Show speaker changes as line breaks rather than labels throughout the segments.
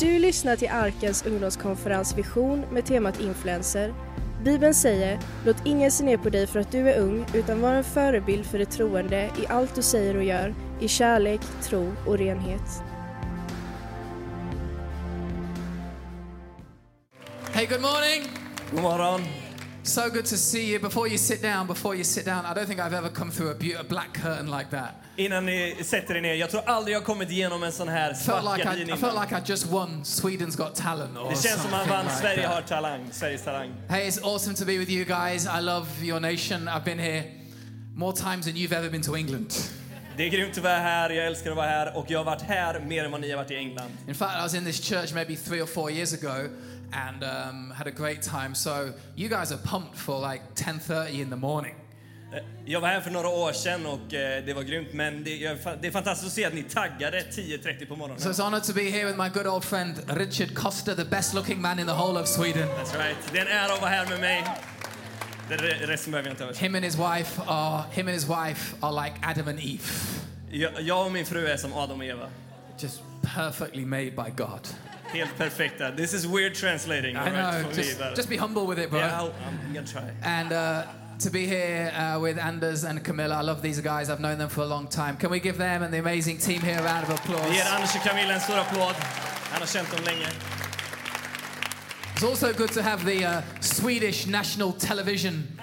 Du lyssnar till Arkens ungdomskonferens Vision med temat influencer. Bibeln säger, låt ingen se ner på dig för att du är ung, utan var en förebild för de troende i allt du säger och gör, i kärlek, tro och renhet.
Hey, good morning.
God morgon.
So good to see you. Before you sit down, before you sit down, I don't think I've ever come through a, be- a black curtain like that.
Innan ni sätter er ner, jag tror aldrig jag kommit igenom en sån här svart
Felt like I,
gardin
I
innan.
felt like I just won Sweden's Got Talent or
Det känns som
something
man vann
like
Sverige
that.
har talang, Sveriges talang.
Hey, it's awesome to be with you guys. I love your nation. I've been here more times than you've ever been to England.
Det är grymt att vara här, jag älskar att vara här och jag har varit här mer än vad ni har varit i England.
In fact, I was in this church maybe three or four years ago and um, had a great time. So you guys are pumped for like 10:30 in the morning.
Eh, Jag var här för några år sedan och eh, det var grymt men det, jag, fa- det är fantastiskt att se att ni taggade 10.30 på morgonen.
So it's honored to be here with my good old friend Richard Costa, the best-looking man in the whole of Sweden.
That's right. Det är en ära att vara här med mig. Det re- resten behöver jag inte översätta.
Him and his wife are him and his wife are like Adam and Eve,
Jag, jag och min fru är som Adam och Eva.
just perfectly made by God.
Helt perfekta. This is weird translating.
I
alright,
know.
får vi
Just,
vidare.
just be humble with it, bro.
Yeah, I'll, I'm gonna try.
And uh, to be here uh, with Anders and Camilla, I love these guys. I've known them for a long time. Can we give them and the amazing team here a round of applause?
Vi ger Anders och Camilla en stor applåd. Han har känt dem länge.
It's also good to have the uh, Swedish national television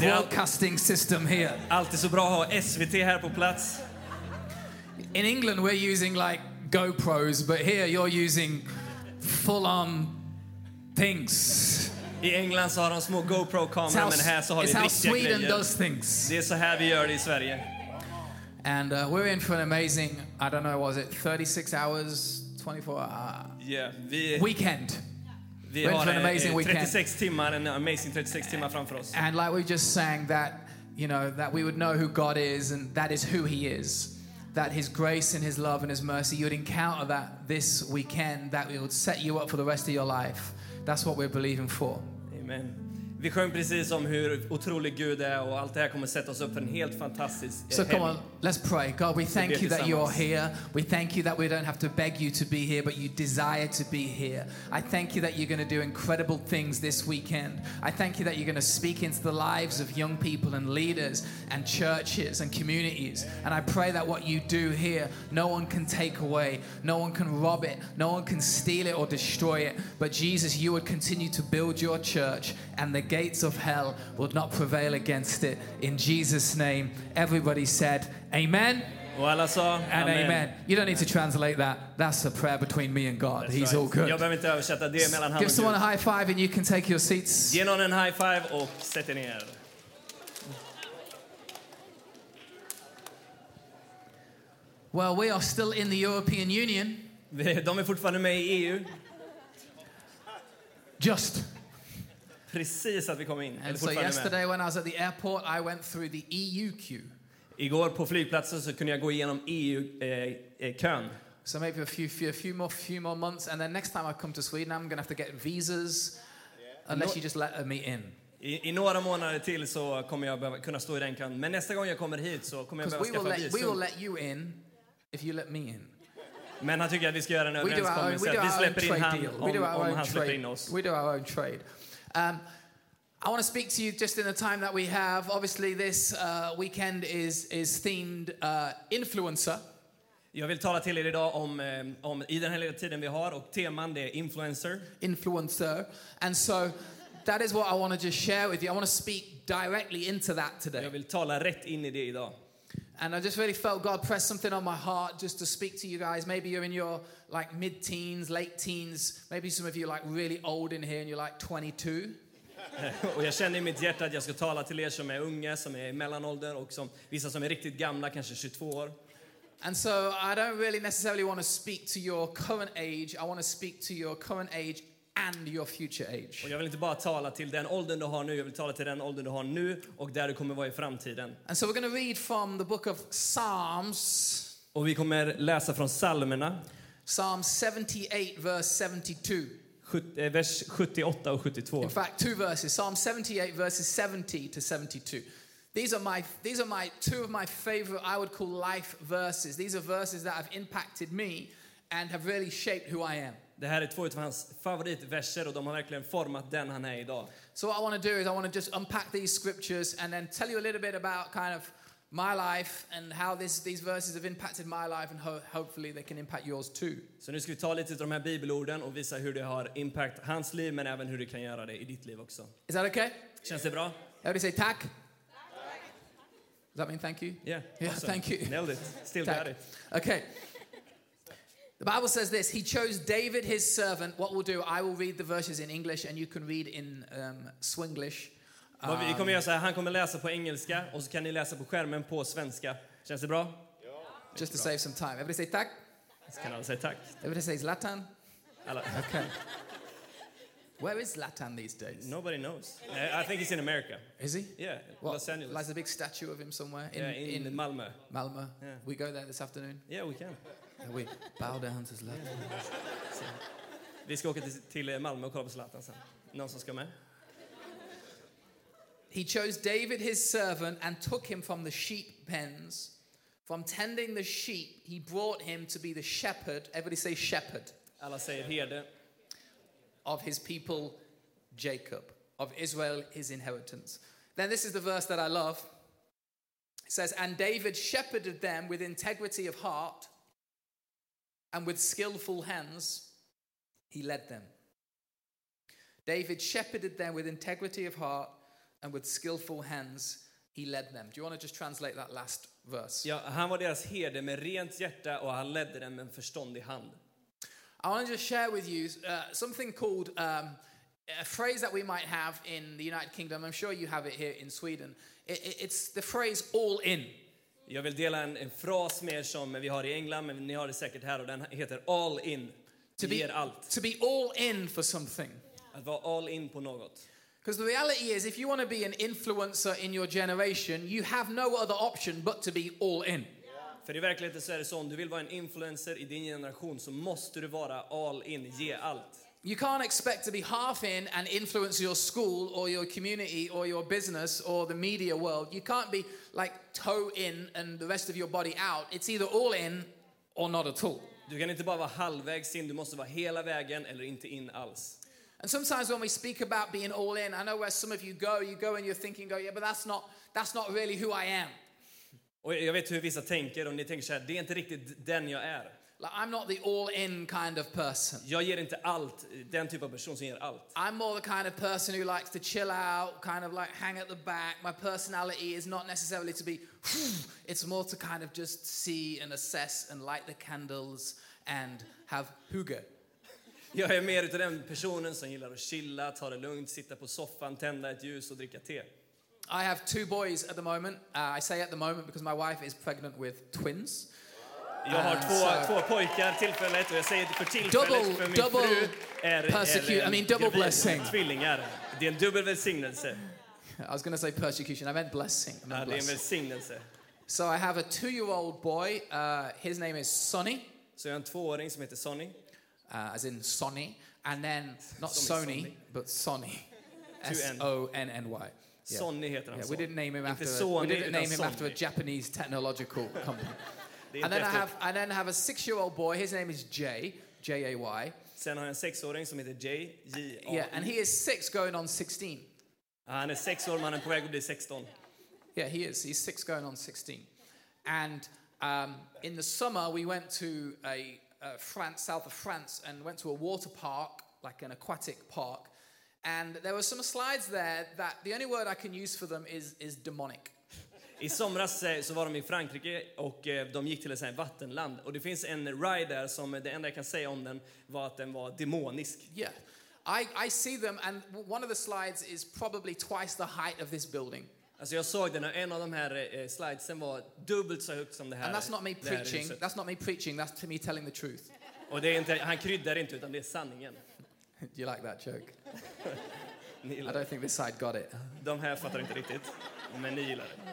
Yeah.
broadcasting system here.
Alltid så bra att ha SVT här på plats.
In England, we're using like GoPros, but here you're using full-on things.
I England så har de små
It's how,
GoPro-kameror, men här så har
it's
de
how
riktiga
Sweden
grejer.
does things.
Det är så här vi gör det i Sverige.
And uh, we're in for an amazing, I don't know, was it 36 hours, 24 hour
Yeah, vi,
weekend.
vi
went
har
for an
eh,
amazing
eh,
weekend.
36 timmar, en amazing 36 timmar framför oss.
And like we just sang that, you know, that we would know who God is and that is who he is. That his grace and his love and his mercy, you would encounter that this weekend, that it would set you up for the rest of your life. That's what we're believing for.
Amen. Vi sjöng precis om hur otrolig Gud är och allt det här kommer sätta oss upp för en helt fantastisk eh,
So come
helg.
on, let's pray. God, we thank
be
you that you are
tillsammans.
here. We thank you that we don't have to beg you to be here, but you desire to be here. I thank you that you're going to do incredible things this weekend. I thank you that you're going to speak into the lives of young people and leaders and churches and communities. And I pray that what you do here, no one can take away, no one can rob it, no one can steal it or destroy it. But Jesus, you would continue to build your church, and the gates of hell will not prevail against it. In Jesus' name, everybody said, Amen.
Och alla sa
And amen. You don't need to translate that. That's a prayer between me and God.
That's
He's
right.
all good.
Jag behöver inte översätta, det är mellan han
Give
och
someone a
Gud.
high five and you can take your seats.
Ge någon en high five och sätt er ner.
Well, we are still in the European Union.
De är fortfarande med i E EU.
Just.
Precis att vi kom in. Eller
And so
fortfarande med.
yesterday when I was at the airport, I went through the EU queue.
Igår på flygplatsen så kunde jag gå igenom E eh, EU-kön.
So maybe a few, few, a few more, few more months, and then next time I come to Sweden, I'm gonna have to get visas, unless
No-
you just let me in.
I, I några månader till så kommer jag behöva, kunna stå i den kön. Men nästa gång jag kommer hit så kommer jag
Because
behöva
we will
skaffa
let we will
visum.
let you in, if you let me in.
Men han tycker att vi ska göra en
We do our own, we do
överenskommelse. att vi
our own
släpper in
trade
han
deal. We do
om,
our
om
own
han släpper in
trade.
oss.
We do our own trade. Um, I want to speak to you just in the time that we have. Obviously, this uh, weekend is is themed uh, influencer.
Jag vill tala till er idag om, eh, om i den här lilla tiden vi har och teman det är influencer.
influencer. And so that is what I want to just share with you. I want to speak directly into that
Jag
today.
vill tala rätt in i det idag.
And I just really felt God press something on my heart just to speak to you guys. Maybe you're in your like mid teens, late teens. Maybe some of you are like really old in here and you're like 22.
Och jag känner i mitt hjärta att jag ska tala till er som är unga, som är i mellanålder och som, vissa som är riktigt gamla, kanske 22 år.
And so I don't really necessarily want to speak to your current age. I want to speak to your current age and your future age.
Och jag vill inte bara tala till den åldern du har nu, jag vill tala till den åldern du har nu och där du kommer vara i framtiden.
And so we're going to read from the book of Psalms,
Och vi kommer läsa från psalmerna,
Psalm 78, verse 72.
sjut- eh, vers 78 och 72.
In fact, two verses, Psalm 78, verses 70 to 72. These are my these are my two of my favorite I would call life verses. These are verses that have impacted me and have really shaped who I am.
Det här är två av hans favoritverser och de har verkligen format den han är idag.
So, what I want to do is I want to just unpack these scriptures and then tell you a little bit about kind of my life and how this, these verses have impacted my life, and ho- hopefully they can impact yours too.
Så nu ska vi ta lite av de här bibelorden och visa hur det har impact hans liv men även hur det kan göra det i ditt liv också.
Is that okay?
Känns det bra?
Everybody say tack. Does that mean thank you?
Yeah.
Yeah, thank you.
Nailed it. Still
Tack.
got it.
Okay. The Bible says this He chose David, his servant. What we'll do, I will read the verses in English and you can read in um, Swinglish.
Vad
Ah.
vi kommer göra så här, han kommer läsa på engelska och så kan ni läsa på skärmen på svenska. Känns det bra?
just to save some time. Everybody say tak.
Så kan alla säga tack.
Everybody says Latan.
Alla.
Okay. Where is Latan these days?
Nobody knows. Eh, I think he's in America.
Is he?
Yeah,
What,
Los Angeles.
Lies a big statue of him somewhere in,
yeah, in,
in
Malmö.
Malmo. We go there this afternoon.
Yeah, we can.
And we bow down to Zlatan.
Vi ska åka till, till Malmö och kolla på Zlatan sen. Någon som ska med?
He chose David his servant and took him from the sheep pens. From tending the sheep, he brought him to be the shepherd. Everybody say shepherd
Alla säger herde.
of his people, Jacob, of Israel, his inheritance. Then this is the verse that I love. It says, And David shepherded them with integrity of heart and with skillful hands, he led them. David shepherded them with integrity of heart and with skillful hands, he led them. Do you want to just translate that last verse?
Ja, han var deras herde med rent hjärta och han ledde dem med en förståndig hand.
I want to just share with you uh, something called um, a phrase that we might have in the United Kingdom. I'm sure you have it here in Sweden. It, it, it's the phrase all in.
Jag vill dela en, en fras med er som vi har i England, men ni har det säkert här och den heter all in.
To be,
Ger allt.
to be all in for something.
Att vara all in på något.
Because the reality is, if you want to be an influencer in your generation, you have no other option but to be all in.
För i verkligheten så är det så, om du vill vara en influencer i din generation så måste du vara all in, ge allt.
You can't expect to be half in and influence your school or your community or your business or the media world. You can't be like toe in and the rest of your body out. It's either all in or not at all.
Du kan inte bara vara halvvägs in, du måste vara hela vägen eller inte in alls.
And sometimes when we speak about being all in, I know where some of you go, you go and you're thinking, go, yeah, but that's not that's not really who I am.
Och jag vet hur vissa tänker och ni tänker så här, det är inte riktigt den jag är.
Like I'm not the all in kind of person.
Jag ger inte allt, den typ av person som ger allt.
I'm more the kind of person who likes to chill out, kind of like hang at the back. My personality is not necessarily to be, it's more to kind of just see and assess and light the candles and have hygge.
Jag är mer utav den personen som gillar att chilla, ta det lugnt, sitta på soffan, tända ett ljus och dricka te.
I have two boys at the moment. Uh, I say at the moment because my wife is pregnant with twins.
Jag har
Ah,
två,
så-
två pojkar tillfället och jag säger för tillfället
Double-
för min
double
fru är,
persecute-
är en
I mean, double
gravid
blessing.
tvillingar. Det är en dubbel välsignelse.
I was going to say persecution. I meant blessing. I meant
Ja, det är en
blessing.
välsignelse.
So I have a two-year-old boy. Uh, his name is Sonny,
Så jag har en tvååring som heter Sonny.
uh, as in Sonny, and then not
Sonny,
Sony,
Sonny.
but Sonny, S
N.
O N N Y. Yeah.
Sonny heter han
Yeah, we
så.
didn't name him after.
Sonny,
we didn't
utan
name him after a
Sonny.
Japanese technological company.
Det är
and
inte
then I
efter-
have, I then have a six-year-old boy. His name is Jay, J A Y.
Sen har jag en sexåring som heter Jay. J
Yeah, and he is six, going on sixteen.
Han är sex år, men han är på väg att bli 16.
Yeah, he is. He's six going on 16. And um, in the summer, we went to a, uh France, south of France, and went to a water park, like an aquatic park. And there were some slides there that the only word I can use for them is, is demonic.
I somras eh, så var de i Frankrike och eh, de gick till ett sånt här vattenland. Och det finns en ride där som eh, det enda jag kan säga om den var att den var demonisk.
Yeah. I, I see them, and w- one of the slides is probably twice the height of this building.
Alltså jag såg den och en av de här eh, slidesen var dubbelt så högt som det här,
And that's not me
det här
preaching.
huset.
That's not me preaching. That's to me telling the truth.
Och det är inte, han kryddar inte utan det är sanningen.
Do you like that joke?
Ni
I
gillar det.
don't think this side got it.
De här fattar inte riktigt, men ni gillar det.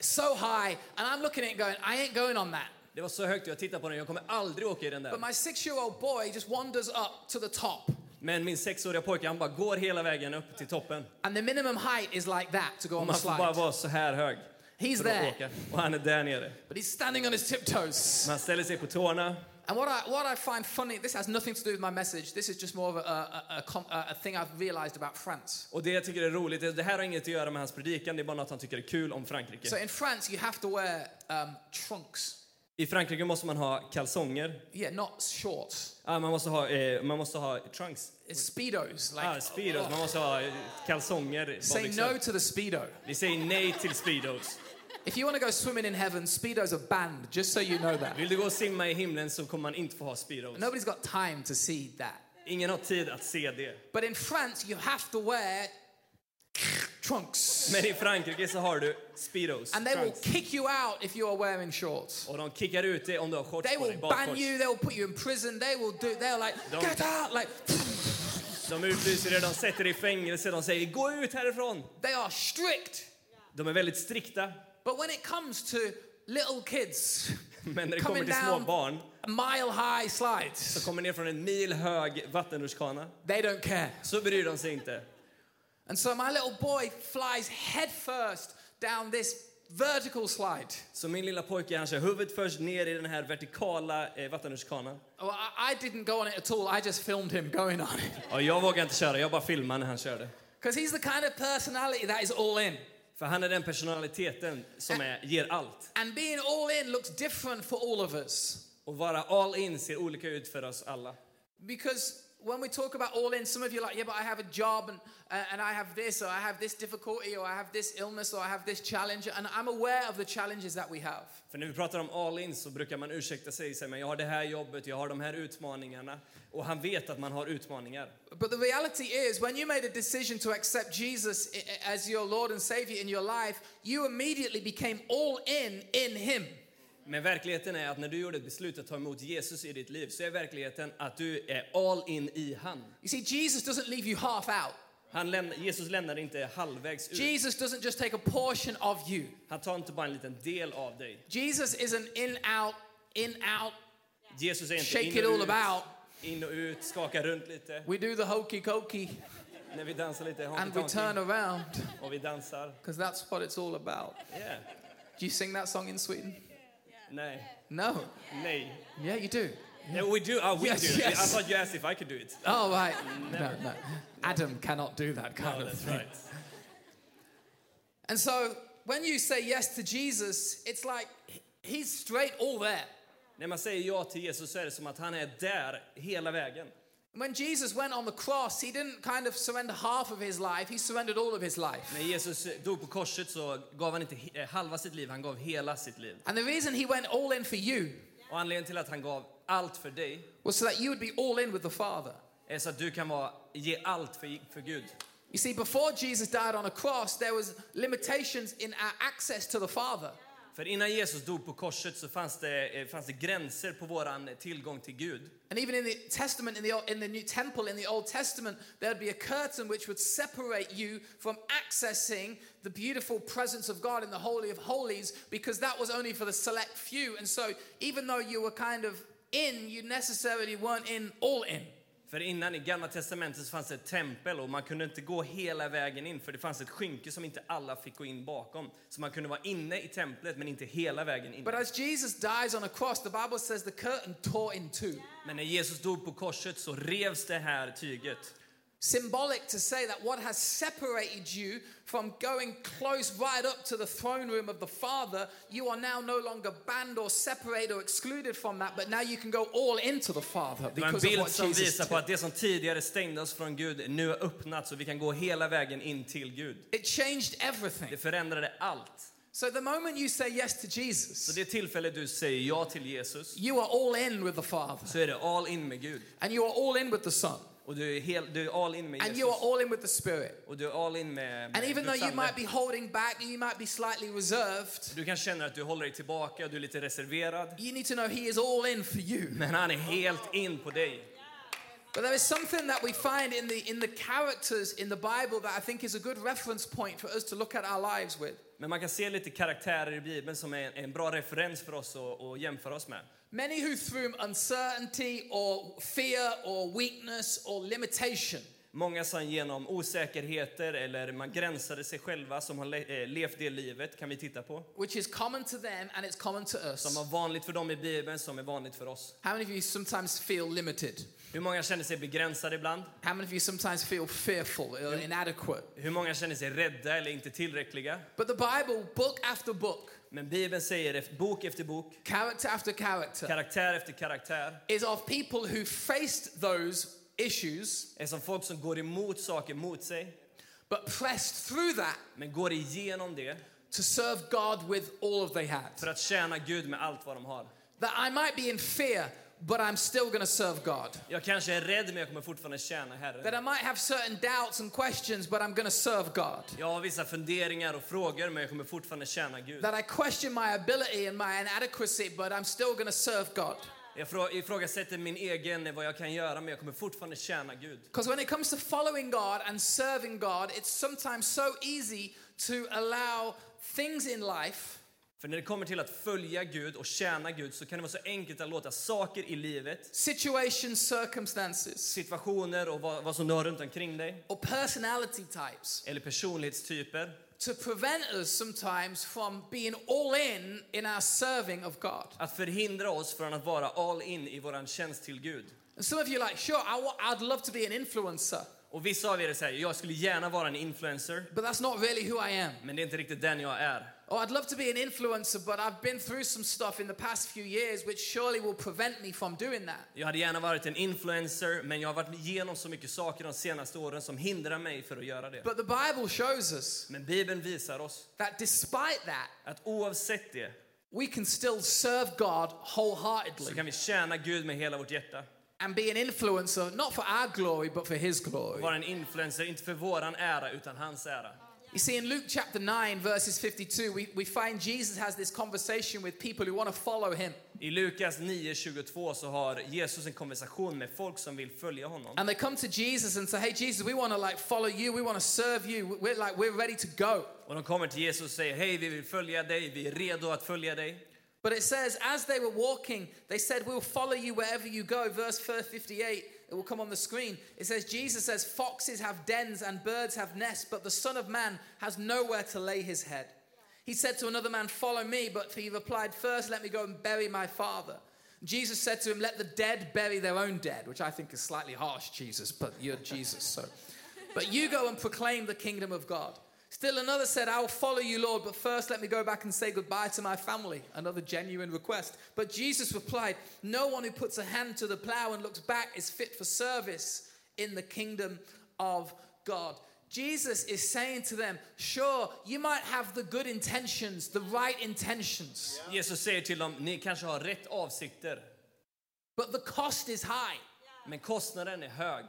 So high, and I'm looking at it going, I ain't going on that.
Det var så högt och jag tittade på den, jag kommer aldrig åka i den där.
But my six year old boy just wanders up to the top.
Men min sexåriga pojke han bara går hela vägen upp till toppen.
And the minimum height is like that to go on the
Man får bara
slide.
vara så här hög.
He's
för att
there.
åka. Och han är där nere.
But he's standing on his tiptoes.
Men han ställer sig på tårna.
And what I, what I find funny, this has nothing to do with my message. This is just more of a, a, a, com- a, a thing I've realized about France.
Och det jag tycker är roligt, det det här har inget att göra med hans predikan, det är bara något han tycker är kul om Frankrike.
So in France, you have to wear um, trunks.
I Frankrike måste man ha kalsonger.
Yeah, not shorts.
Ah, man, måste ha, eh, man måste ha trunks.
It's speedos. Like oh,
Ah, speedos. Man måste ha eh, kalsonger.
say
badbyxor.
no to the speedo.
Vi säger nej till speedos.
If you want to go swimming in heaven, speedos are banned. Just so you know that.
Vill du gå och simma i himlen så kommer man inte få ha speedos.
Nobody's got time to see that.
Ingen har tid att se det.
But in France, you have to wear trunks,
Men i Frankrike så har du speedos.
and they will
trunks.
kick you out if you are wearing shorts.
Och de kickar ut dig om du har shorts
They
på dig,
will ban
badshorts.
you. They will put you in prison. They will do. They're like,
Don't-
get out! Like,
De utlyser dig, de sätter dig i fängelse, de säger gå ut härifrån.
they are strict.
De är väldigt strikta.
But when it comes to little kids
Men när det kommer
coming
till små
down
barn
mile high slides,
som kommer ner från en mil hög vattenrutschkana
they don't care.
så bryr de sig inte.
And so my little boy flies headfirst down this vertical slide.
Så min lilla pojke han kör huvudet först ner i den här vertikala eh, vattenrutschkanan.
Oh, I, I didn't go on it at all. I just filmed him going on it.
Och jag vågar inte köra, jag bara filmade när han körde.
Because he's the kind of personality that is all in.
För han är den personaliteten som är, ger allt.
And being all in looks different for all of us.
Och vara all in ser olika ut för oss alla.
Because when we talk about all in, some of you are like, yeah, but I have a job and, uh, and I have this, or I have this difficulty, or I have this illness, or I have this challenge. And I'm aware of the challenges that we have.
För när vi pratar om all in så brukar man ursäkta sig och säga men jag har det här jobbet, jag har de här utmaningarna. Och han vet att man har utmaningar.
But the reality is, when you made a decision to accept Jesus i- i- as your Lord and Savior in your life, you immediately became all in in Him.
Men verkligheten är att när du gjorde ett beslut att ta emot Jesus i ditt liv så är verkligheten att du är all in i han.
You see, Jesus doesn't leave you half out.
han lämnar, Jesus lämnar inte halvvägs ut.
Jesus doesn't just take a portion of you.
Han tar inte bara en liten del av dig.
Jesus is an in out, in out.
Jesus är inte
Shake
in
it all
och ut,
about.
in och ut, skaka runt lite.
We do the hokey cokey
När vi dansar lite
and we
honky
turn
tonky
around
och vi dansar.
because that's what it's all about.
Yeah.
Do you sing that song in Sweden?
Nej.
No.
Nej.
Yeah, you do.
No, we do. Ah, we
Yes,
do.
yes.
I thought you asked if I could do it.
Oh, right. No, no. Adam cannot do that kind
Oh,
of
that's
thing.
right.
And so when you say yes to Jesus, it's like he- he's straight all there.
När man säger ja till Jesus så är det som att han är där hela vägen.
When Jesus went on the cross, he didn't kind of surrender half of his life, he surrendered all of his life.
När Jesus dog på korset så gav han inte he- eh, halva sitt liv, han gav hela sitt liv.
And the reason he went all in for you
Och anledningen till att han gav allt för dig
was so that you would be all in with the Father.
är så att du kan vara, ge allt för, för Gud.
You see, before Jesus died on a cross, there was limitations in our access to the Father.
För innan Jesus dog på korset så fanns det, eh, fanns det gränser på våran tillgång till Gud.
And even in the Testament, in the, Old- in the New Temple, in the Old Testament, there'd be a curtain which would separate you from accessing the beautiful presence of God in the Holy of Holies because that was only for the select few. And so, even though you were kind of in, you necessarily weren't in all in.
För innan i Gamla Testamentet så fanns det ett tempel och man kunde inte gå hela vägen in för det fanns ett skynke som inte alla fick gå in bakom. Så man kunde vara inne i templet men inte hela vägen in.
But as Jesus dies on a cross, the Bible says the curtain tore in two.
Men när Jesus dog på korset så revs det här tyget.
symbolic to say that what has separated you from going close right up to the throne room of the Father, you are now no longer banned or separated or excluded from that, but now you can go all into the Father
Det var en
because of
bild
what
som
Jesus
visar på
did.
att det som tidigare stängde oss från Gud nu har öppnats och vi kan gå hela vägen in till Gud.
It changed
Det
everything.
förändrade allt.
So the moment you say yes to
Så
Jesus,
det tillfälle du säger ja till Jesus
you are all in with the Father,
så är det all in med Gud.
and you are all in with the Son,
Och du är, hel, du är all in med
and you are
Jesus.
all in with the Spirit.
Och du är all in med,
And
med
even though
Guds
you might
ande.
be holding back, you might be slightly reserved,
Du kan känna att du håller dig tillbaka, du är lite reserverad.
you need to know He is all in for you.
Men han är helt in på dig.
But there is something that we find in the in the characters in the Bible that I think is a good reference point for us to look at our lives with.
Men man kan se lite karaktärer i Bibeln som är en, en bra referens för oss att att jämföra oss med.
Many who through uncertainty or fear or weakness or limitation
Många som genom osäkerheter eller man gränsade sig själva som har le- eh, levt det livet kan vi titta på.
which is common to them and it's common to us.
Som var vanligt för dem i Bibeln, som är vanligt för oss.
How many of you sometimes feel limited?
Hur många känner sig begränsade ibland?
How many of you sometimes feel fearful or inadequate?
Hur många känner sig rädda eller inte tillräckliga?
But the Bible, book after book,
Men Bibeln säger efter- bok efter bok,
character after character,
karaktär efter karaktär,
is of people who faced those issues
är som folk som går emot saker mot sig,
but pressed through that
men går igenom det
to serve God with all of they had.
för att tjäna Gud med allt vad de har.
That I might be in fear, but I'm still going to serve God.
Jag kanske är rädd, men jag kommer fortfarande tjäna Herren.
That I might have certain doubts and questions, but I'm going to serve God.
Jag har vissa funderingar och frågor, men jag kommer fortfarande tjäna Gud.
That I question my ability and my inadequacy, but I'm still going to serve God.
Jag frå- ifrågasätter min egen, vad jag kan göra, men jag kommer fortfarande tjäna Gud.
Because when it comes to following God and serving God, it's sometimes so easy to allow things in life
För när det kommer till att följa Gud och tjäna Gud så kan det vara så enkelt att låta saker i livet,
situations, circumstances,
situationer och vad, vad som du har runt omkring dig,
or personality types
eller personlighetstyper,
to prevent us sometimes from being all in in our serving of God.
att förhindra oss från att vara all in i våran tjänst till Gud.
And some of you are like, sure, i w- I'd love to be an influencer,
Och vissa av er säger, jag skulle gärna vara en influencer,
but that's not really who I am.
men det är inte riktigt den jag är.
Or I'd love to be an influencer, but I've been through some stuff in the past few years which surely will prevent me from doing that.
Jag hade gärna varit en influencer, men jag har varit igenom så mycket saker de senaste åren som hindrar mig för att göra det.
But the Bible shows us
Men Bibeln visar oss
that despite that,
att oavsett det
we can still serve God
så
wholeheartedly
kan vi tjäna Gud med hela vårt hjärta.
and be an influencer, not for our glory, but for His glory.
Vara en influencer, inte för våran ära, utan hans ära.
You see, in Luke chapter 9, verses 52, we, we find Jesus has this conversation with people who want to follow Him.
I Lukas 9.22 så har Jesus en konversation med folk som vill följa honom.
And they come to Jesus and say, Hey, Jesus, we want to like follow you, we want to serve you, we're like, we're ready to go.
Och de kommer till Jesus och säger, hej vi vill följa dig, vi är redo att följa dig.
But it says, as they were walking, they said, We'll follow you wherever you go. Verse 58, it will come on the screen. It says, Jesus says, Foxes have dens and birds have nests, but the Son of Man has nowhere to lay his head. He said to another man, Follow me. But he replied, First, let me go and bury my father. Jesus said to him, Let the dead bury their own dead, which I think is slightly harsh, Jesus, but you're Jesus, so. But you go and proclaim the kingdom of God. Still another said, I will follow you, Lord, but first let me go back and say goodbye to my family. Another genuine request. But Jesus replied, No one who puts a hand to the plow and looks back is fit for service in the kingdom of God. Jesus is saying to them, Sure, you might have the good intentions, the right intentions,
Jesus säger till dem, ni kanske har rätt avsikter,
but the cost is high.
men kostnaden är hög.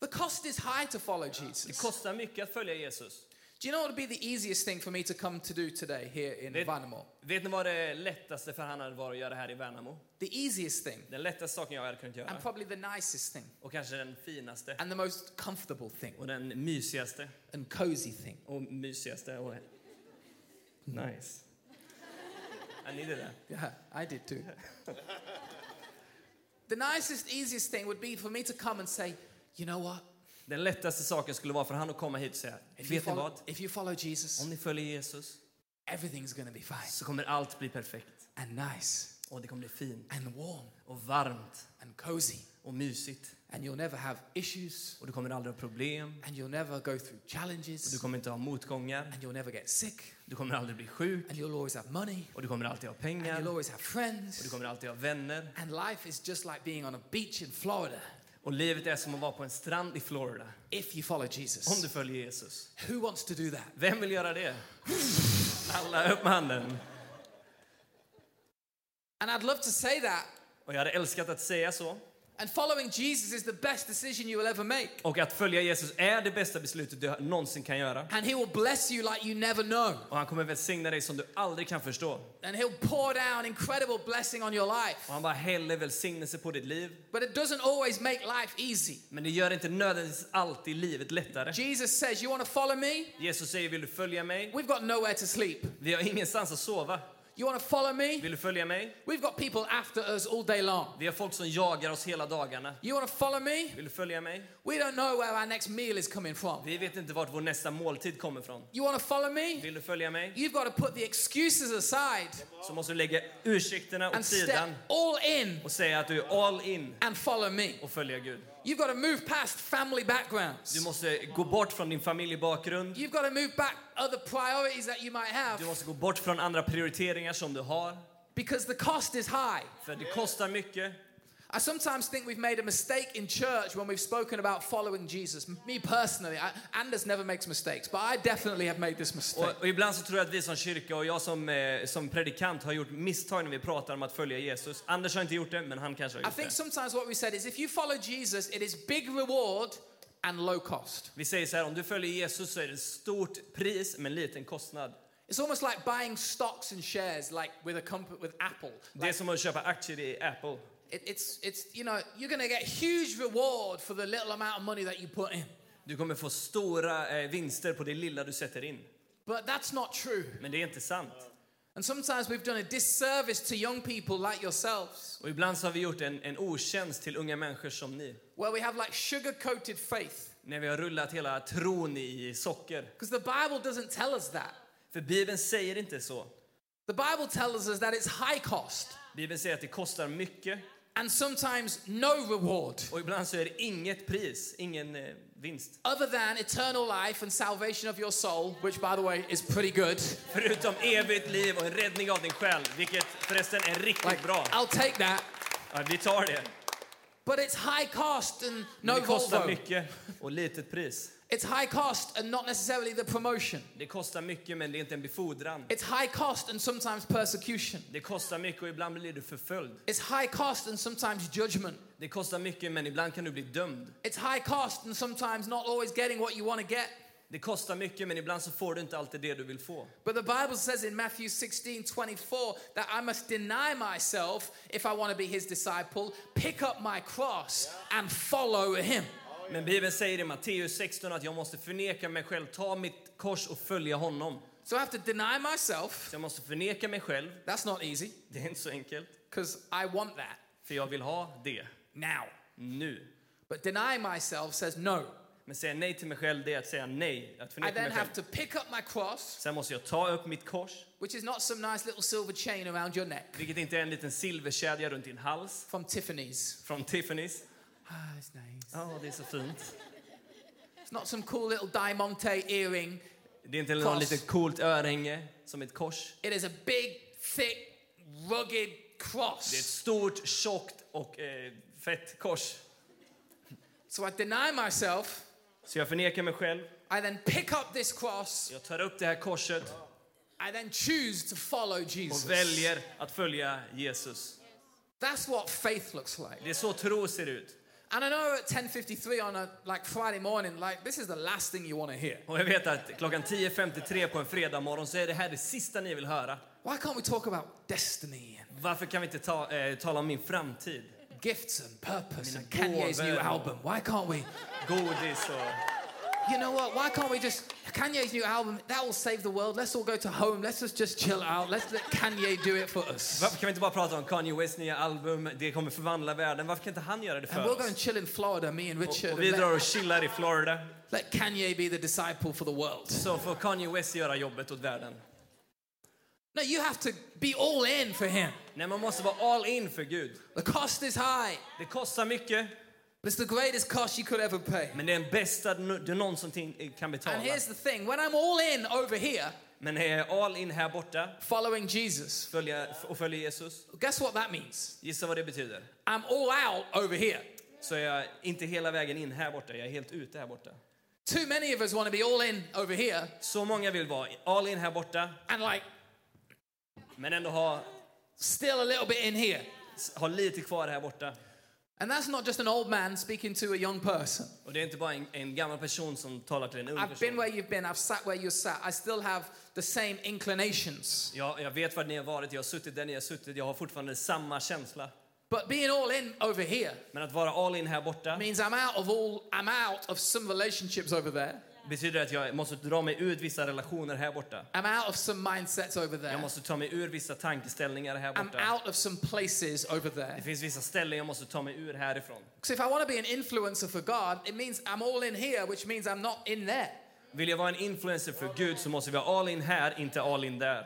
The cost is high to follow
Det
Jesus.
kostar mycket att följa Jesus.
Do you know what would be the easiest thing for me to come to do today here in
It-
Vanamo?
Vet ni vad det lättaste för han hade varit att göra här i Värnamo?
The easiest thing,
Den lättaste saken jag hade kunnat
and
göra.
probably the nicest thing,
Och kanske den finaste.
and the most comfortable thing,
Och den mysigaste.
and cozy thing.
Och mysigaste. Och... Nice. I needed that.
Yeah, I did too. the nicest, easiest thing would be for me to come and say, you know what?
Den lättaste saken skulle vara för han att komma hit och säga,
If you
vet ni
follow,
vad?
if you follow Jesus,
Om ni följer Jesus
everything's going to be fine,
så kommer allt bli perfekt.
and nice,
Och det kommer bli fint
and warm,
och varmt
and cozy,
och mysigt.
and you'll never have issues,
Och du kommer aldrig ha problem.
and you'll never go through
Du
challenges,
kommer inte ha motgångar.
and you'll never get sick,
Du kommer aldrig bli sjuk.
and you'll always have money,
Och du kommer alltid ha
and
pengar.
you'll
Och
always have
du
friends.
kommer alltid ha vänner.
And life is just like being on a beach in Florida
Och livet är som att vara på en strand i Florida.
if you follow
Om
Jesus.
du följer Jesus.
Who wants to do that?
Vem vill göra det? Alla, upp med handen.
And I'd love to say that.
Och jag hade älskat att säga så.
And following Jesus is the best decision you will ever make.
Och att följa Jesus är det bästa beslutet du någonsin kan göra.
And He will bless you like you never know.
Och han kommer välsigna dig som du aldrig kan förstå. Och
And He'll pour down incredible blessing on your life.
han bara häller välsignelse på ditt liv.
But it doesn't always make life easy.
Men det gör inte nödvändigtvis alltid livet lättare.
Jesus says, You want to follow me?
Jesus säger, vill du följa mig?
We've got nowhere to sleep.
Vi har ingenstans att sova.
You want to follow me?
Vill du följa mig?
We've got people after us all day long.
Vi har folk som jagar oss hela dagarna.
You want to follow me?
Vill du följa mig?
We don't know where our next meal is coming from.
Vi vet inte vart vår nästa måltid kommer från.
You want to follow me?
Vill du följa mig?
You've got to put the excuses aside
Så måste du lägga ursäkterna åt
and step
sidan
all in
och säga att du är all in
and follow me.
och följa Gud.
You've got to move past family
Du
backgrounds.
måste gå bort från din familjebakgrund.
You've got to move back other priorities that you might
Du
have
måste gå bort från andra prioriteringar som du har.
because the cost is high.
För det kostar mycket.
I sometimes think we've made a mistake in church when we've spoken about following Jesus. Me personally, I, Anders never makes mistakes, but I definitely have made this mistake.
Och, och ibland så tror jag att vi som kyrka och jag som, eh, som predikant har gjort misstag när vi pratar om att följa Jesus. Anders har inte gjort det, men han kanske har
I
gjort
think
det.
sometimes what we said is if you follow Jesus, it is big reward and low cost.
Vi säger så här, om du följer Jesus så är det ett stort pris men liten kostnad.
It's almost like buying stocks and shares, like with a comp- with Apple.
Det är som att köpa aktier i Apple.
It, it's it's you know you're gonna get huge reward for the little amount of money that you put in,
Du kommer få stora eh, vinster på det lilla du sätter in.
but that's not true.
Men det är inte sant.
And sometimes we've done a disservice to young people like yourselves,
Och ibland så har vi gjort en, en otjänst till unga människor som ni.
where we have like sugar-coated faith,
När vi har rullat hela tron i socker.
because the Bible doesn't tell us that.
För Bibeln säger inte så.
The Bible tells us that it's high cost
Bibeln säger att det kostar mycket
and sometimes no reward,
och ibland så är det inget pris, ingen eh, vinst.
other than eternal life and salvation of your soul, which by the way is pretty good.
Förutom evigt liv och en räddning av din själ, vilket förresten är riktigt
Like
bra.
I'll take that.
Ja, vi tar det.
But it's high cost and no
det kostar
Volvo.
mycket och litet pris.
It's high cost and not necessarily the promotion.
Det kostar mycket men det är inte en befordran.
It's high cost and sometimes persecution.
Det kostar mycket och ibland blir du förföljd.
It's high cost and sometimes judgment.
Det kostar mycket men ibland kan du bli dömd.
It's high cost and sometimes not always getting what you want to get.
Det kostar mycket men ibland så får du inte alltid det du vill få.
But the Bible says in Matthew 16 24 that I must deny myself if I want to be his disciple, pick up my cross, and follow him.
Men Bibeln säger i Matteus 16 att jag måste förneka mig själv, ta mitt kors och följa honom.
So I have to deny myself.
Så jag måste förneka mig själv,
That's not easy
det är inte så enkelt.
because I want that
För jag vill ha det
now.
nu.
But deny myself says no.
Men säga nej till mig själv, det är att säga nej. Att
I
förneka
then
mig själv.
have to pick up my cross,
Sen måste jag ta upp mitt kors,
which is not some nice little silver chain around your neck
vilket inte är en liten silverkedja runt din hals
from Tiffany's.
från Tiffany's.
Ah, it's nice.
Ja, det är så fint.
It's not some cool little diamante earring.
Det är inte någon
Kors.
litet coolt örhänge som ett kors.
It is a big, thick, rugged
Det är ett
cross.
stort, tjockt och eh, fett kors.
So I deny myself.
Så jag förnekar mig själv.
I then pick up this cross.
Jag tar upp det här korset
I then choose to follow
och
Jesus.
väljer att följa Jesus.
That's what faith looks like.
Det är så tro ser ut.
And I know at 10:53 on a like Friday morning, like this is the last thing you want to hear.
Och jag vet att klockan 10.53 på en fredag morgon så är det här det sista ni vill höra.
Why can't we talk about destiny and
Varför kan vi inte ta, eh, tala om min framtid?
gifts and purpose and
Mina
Kanye's new
gåvor.
album? Why can't we?
Godis och...
You know what? Why can't we just Kanye's new album? That will save the world. Let's all go to home. Let's just just chill out. Let's let Kanye do it for us.
Varför kan vi inte bara prata om Kanye Wests nya album? Det kommer förvandla världen. Varför kan inte han göra det
And we'll
för
go and
oss?
chill in Florida, me and Richard.
Och
and
vi
let-
drar och chillar i Florida.
Let Kanye be the disciple for the world.
Så får Kanye West göra jobbet åt världen.
No, you have to be all in for him.
Nej, man måste vara all in för Gud.
The cost is high,
Det kostar mycket,
but it's the greatest cost you could ever pay.
men det är den bästa du du någonsin kan
And
betala.
here's the thing when I'm all in over here,
Men är jag all in här borta
following Jesus,
följa, och följer Jesus,
guess what that means?
gissa vad det betyder?
I'm all out over here.
Så är jag inte hela vägen in här borta, jag är helt ute här borta.
Too many of us want to be all in over here
Så många vill vara all in här borta,
and like
men ändå ha,
still a little bit in here.
ha lite kvar här borta.
And that's not just an old man speaking to a young person.
Och det är inte bara en, en gammal person som talar till en ung
I've been
person.
where you've been, I've sat where you sat, I still have the same inclinations.
Jag, jag vet var ni har varit, jag har suttit där ni har suttit, jag har fortfarande samma känsla.
But being all in over here
Men att vara all in här borta
means I'm out of all I'm out of some relationships over there.
Betyder det att jag måste dra mig ut vissa relationer här borta?
I'm out of some mindsets over there.
Jag måste ta mig ur vissa tankeställningar här
I'm
borta.
out of some places over there.
Det finns vissa ställen jag måste ta mig ur härifrån.
Because if I want to be an influencer for God, it means I'm all in here, which means I'm not in there.
Vill jag vara en influencer för Gud så måste vi vara all in här, inte all in där.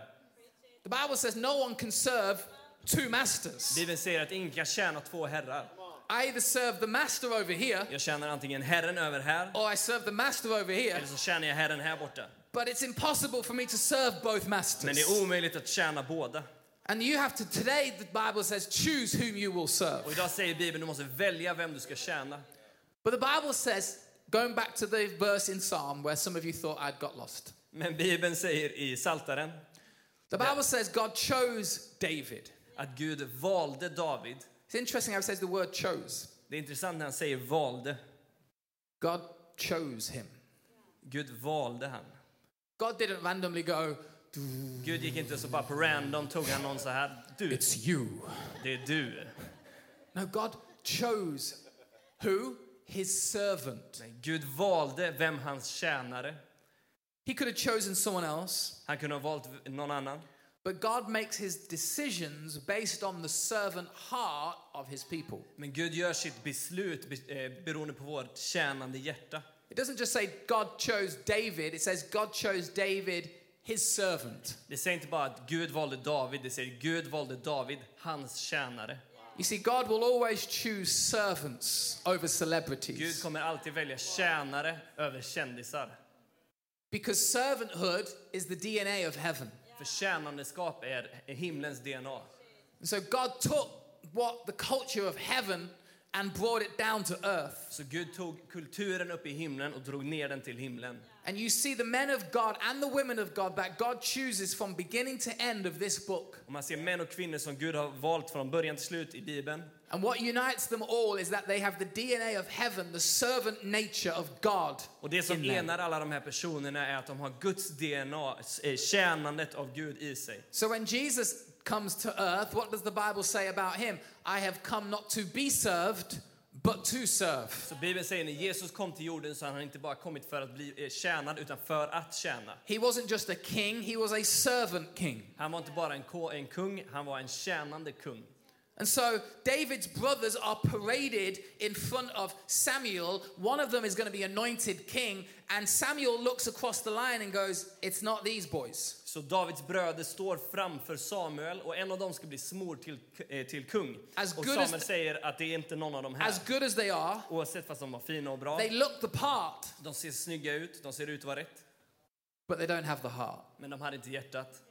The Bible says no one can serve two masters.
Bibeln säger att ingen kan tjäna två herrar.
I either serve the master over here
Jag tjänar antingen Herren över här,
or I serve the master over here,
eller så tjänar jag Herren här borta.
but it's impossible for me to serve both
Men det
masters.
är omöjligt att tjäna båda.
And you have to, today, the Bible says, choose whom you will
Och
serve.
idag säger Bibeln du måste välja vem du ska tjäna.
But the Bible says, going back to the verse in Psalm where some of you thought I'd got lost,
Men Bibeln säger i Saltaren
the Bible says God chose David.
att Gud valde David.
It's interesting how it says the word chose.
Det är intressant när han säger valde.
God chose him.
Gud valde han.
God didn't randomly go, "Doo,
Gud gick inte så bara på random tog han någon så här. Du,
it's you.
det är du.
No, God chose who? His servant.
Nej, Gud valde vem hans tjänare.
He could have chosen someone else,
Han kunde ha valt någon annan.
but God makes his decisions based on the servant heart of his people.
Men Gud gör sitt beslut be- eh, beroende på vårt tjänande hjärta.
It doesn't just say God chose David, it says God chose David, his servant.
Det säger inte bara att Gud valde David, det säger Gud valde David, hans tjänare.
You see, God will always choose servants over
Gud
celebrities
kommer alltid välja tjänare över kändisar.
because servanthood is the DNA of heaven.
För tjänandeskap är är himlens DNA.
And so God took what the culture of heaven and brought it down to earth.
Så Gud tog kulturen upp i himlen och drog ner den till himlen.
And you see the men of God and the women of God that God chooses from beginning to end of this book.
Och man ser män och kvinnor som Gud har valt från början till slut i Bibeln.
And what unites them all is that they have the DNA of heaven, the servant nature of God.
Och det som
in them.
enar alla de här personerna är att de har Guds DNA, eh, tjänandet av Gud i sig.
So when Jesus comes to earth, what does the Bible say about him? I have come not to be served, but to serve.
Så Bibeln säger när Jesus kom till jorden så har han inte bara kommit för att bli eh, tjänad utan för att tjäna.
He wasn't just a king, he was a servant king.
Han var inte bara en, ko- en kung, han var en tjänande kung.
And so David's brothers are paraded in front of Samuel. One of them is going to be anointed king. And Samuel looks across the line and goes, It's not these boys.
Så Davids bröder står framför Samuel och en av dem ska bli smord till, eh, till kung.
As
och
good
Samuel
as-
säger att det är inte någon av de här.
As good as they are,
Oavsett fast de var fina och bra.
they look the part,
De ser snygga ut, de ser ut att vara rätt.
but they don't have the heart.
Men de hade inte hjärtat.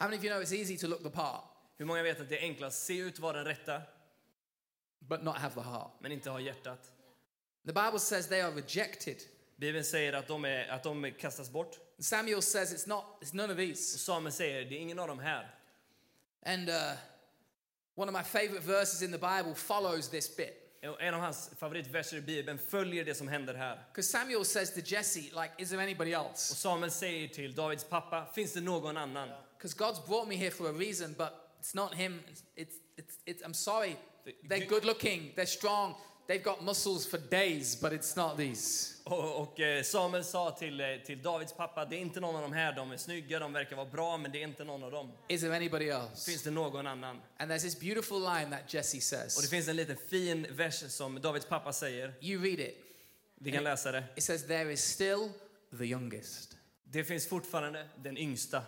How many of you know it's easy to look the part,
Hur många vet att det är enklast att se ut att vara den rätta,
but not have the heart?
men inte ha hjärtat?
The Bible says they are rejected.
Bibeln säger att de, är, att de kastas bort.
Samuel says it's not, it's none of
Och
these.
Samuel säger, det är ingen av de här.
And uh, one of my favorite verses in the Bible follows this bit.
Och En av hans favoritverser i Bibeln följer det som händer här.
Because Samuel says to Jesse, like, is there anybody else?
Och Samuel säger till Davids pappa, finns det någon annan?
Because God's brought me here for a reason, but it's not him. It's, it's, it's, it's I'm sorry.
The-
They're good looking, they're strong, they've got muscles for days, but it's not these.
Och, och eh, Samuel sa till, eh, till Davids pappa, det är inte någon av de här, de är snygga, de verkar vara bra, men det är inte någon av dem.
Is there anybody
Finns
else?
det någon annan?
And there's this beautiful line that Jesse
Och det
says.
finns en liten fin vers som Davids pappa säger.
You read it.
Vi kan läsa det.
It says, There is still the youngest.
Det finns fortfarande den yngsta.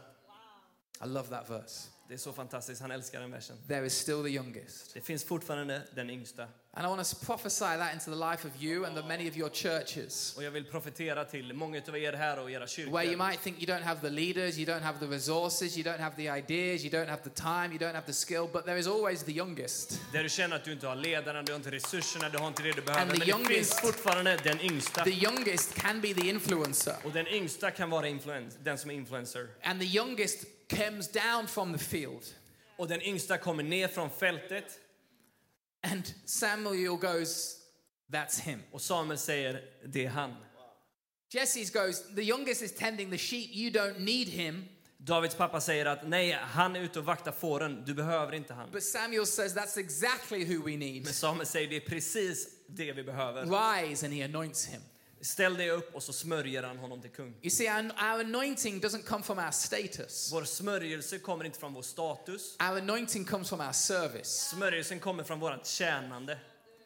I love that verse.
Det är så fantastiskt, han älskar den versen.
There is still the youngest.
Det finns fortfarande den yngsta.
And I want to prophesy that into the life of you and the many of your churches.
Och jag vill profetera till många av er här och era
Where you
kyrkor.
might think you don't have the leaders, you don't have the resources, you don't have the ideas, you don't have the time, you don't have the skill, but there is always the youngest.
Där du känner att du inte har ledarna, du har inte resurserna, du har inte det du
And
behöver.
the
Men det finns
youngest-
fortfarande den yngsta.
The youngest can be the influencer,
Och den yngsta kan vara influen- den som är influencer.
and the youngest comes down from the field.
Och den yngsta kommer ner från fältet
And Samuel goes, That's him.
och Samuel säger, det är han.
Jesse goes, The youngest is tending the sheep, you don't need him.
Davids pappa säger att nej, han är ute och vaktar fåren, du behöver inte han.
But Samuel says, That's exactly who we need.
Men Samuel säger, det är precis det vi behöver.
Rise, and he anoints him.
Ställ dig upp och så smörjer han honom till kung.
You see, our, our anointing doesn't come from our status,
Vår smörjelse kommer inte från vår status.
our anointing comes from our service.
Smörjelsen kommer från vårt tjänande.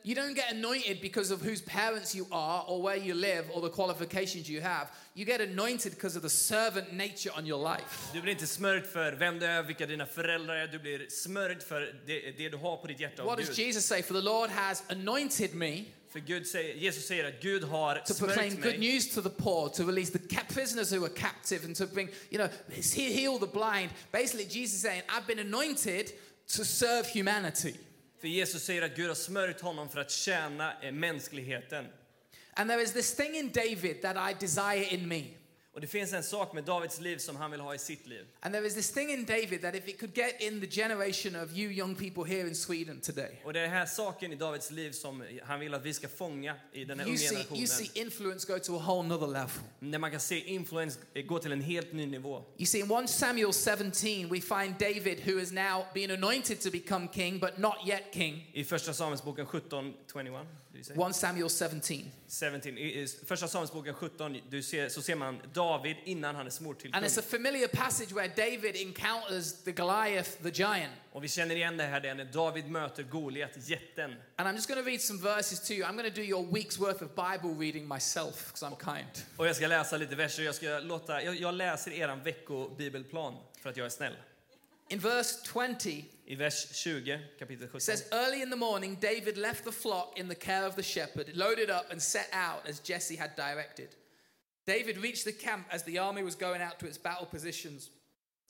You don't get anointed because of whose parents you are, or where you live, or the qualifications you have. You get anointed because of the servant nature on your life.
Du blir inte smörjd för vem du är, vilka dina föräldrar är. Du blir smörjd för det, det du har på ditt hjärta av
What does
Gud.
Jesus say? For the Lord has anointed me
För Gud säger, Jesus säger att Gud har
to proclaim
smörjt
good
mig
news to the poor, to release the ca- prisoners who are captive, and to bring, you know, he- heal the blind. Basically, Jesus is saying, I've been anointed to serve humanity.
För Jesus säger att Gud har smörjt honom för att tjäna eh, mänskligheten.
And there is this thing in David that I desire in me.
Och det finns en sak med Davids liv som han vill ha i sitt liv.
And there is this thing in David that if it could get in the generation of you young people here in Sweden today,
Och det är den här saken i Davids liv som han vill att vi ska fånga i den här
you
unga
see, you see
generationen.
influence go to a whole nother level.
När man kan se influens eh, gå till en helt ny nivå.
You see, in 1 Samuel 17, we find David who is now being anointed to become king, but not yet king.
I Första Samuelsboken 17, 21, du säger?
1 Samuel 17.
17, i i Första Samuelsboken 17, du ser, så ser man David innan han är smord till
And
kung.
it's a familiar passage where David encounters the Goliath, the giant.
Och vi känner igen det här, det är när David möter Goliat, jätten.
And I'm just going to read some verses to you. I'm going to do your week's worth of Bible reading myself because I'm kind.
Och jag ska läsa lite verser, jag, ska låta, jag, jag läser eran veckobibelplan för att jag är snäll.
In verse 20,
I vers 20, kapitel 17.
It says, Early in the morning, David left the flock in the care of the shepherd, loaded up, and set out as Jesse had directed. David reached the camp as the army was going out to its battle positions,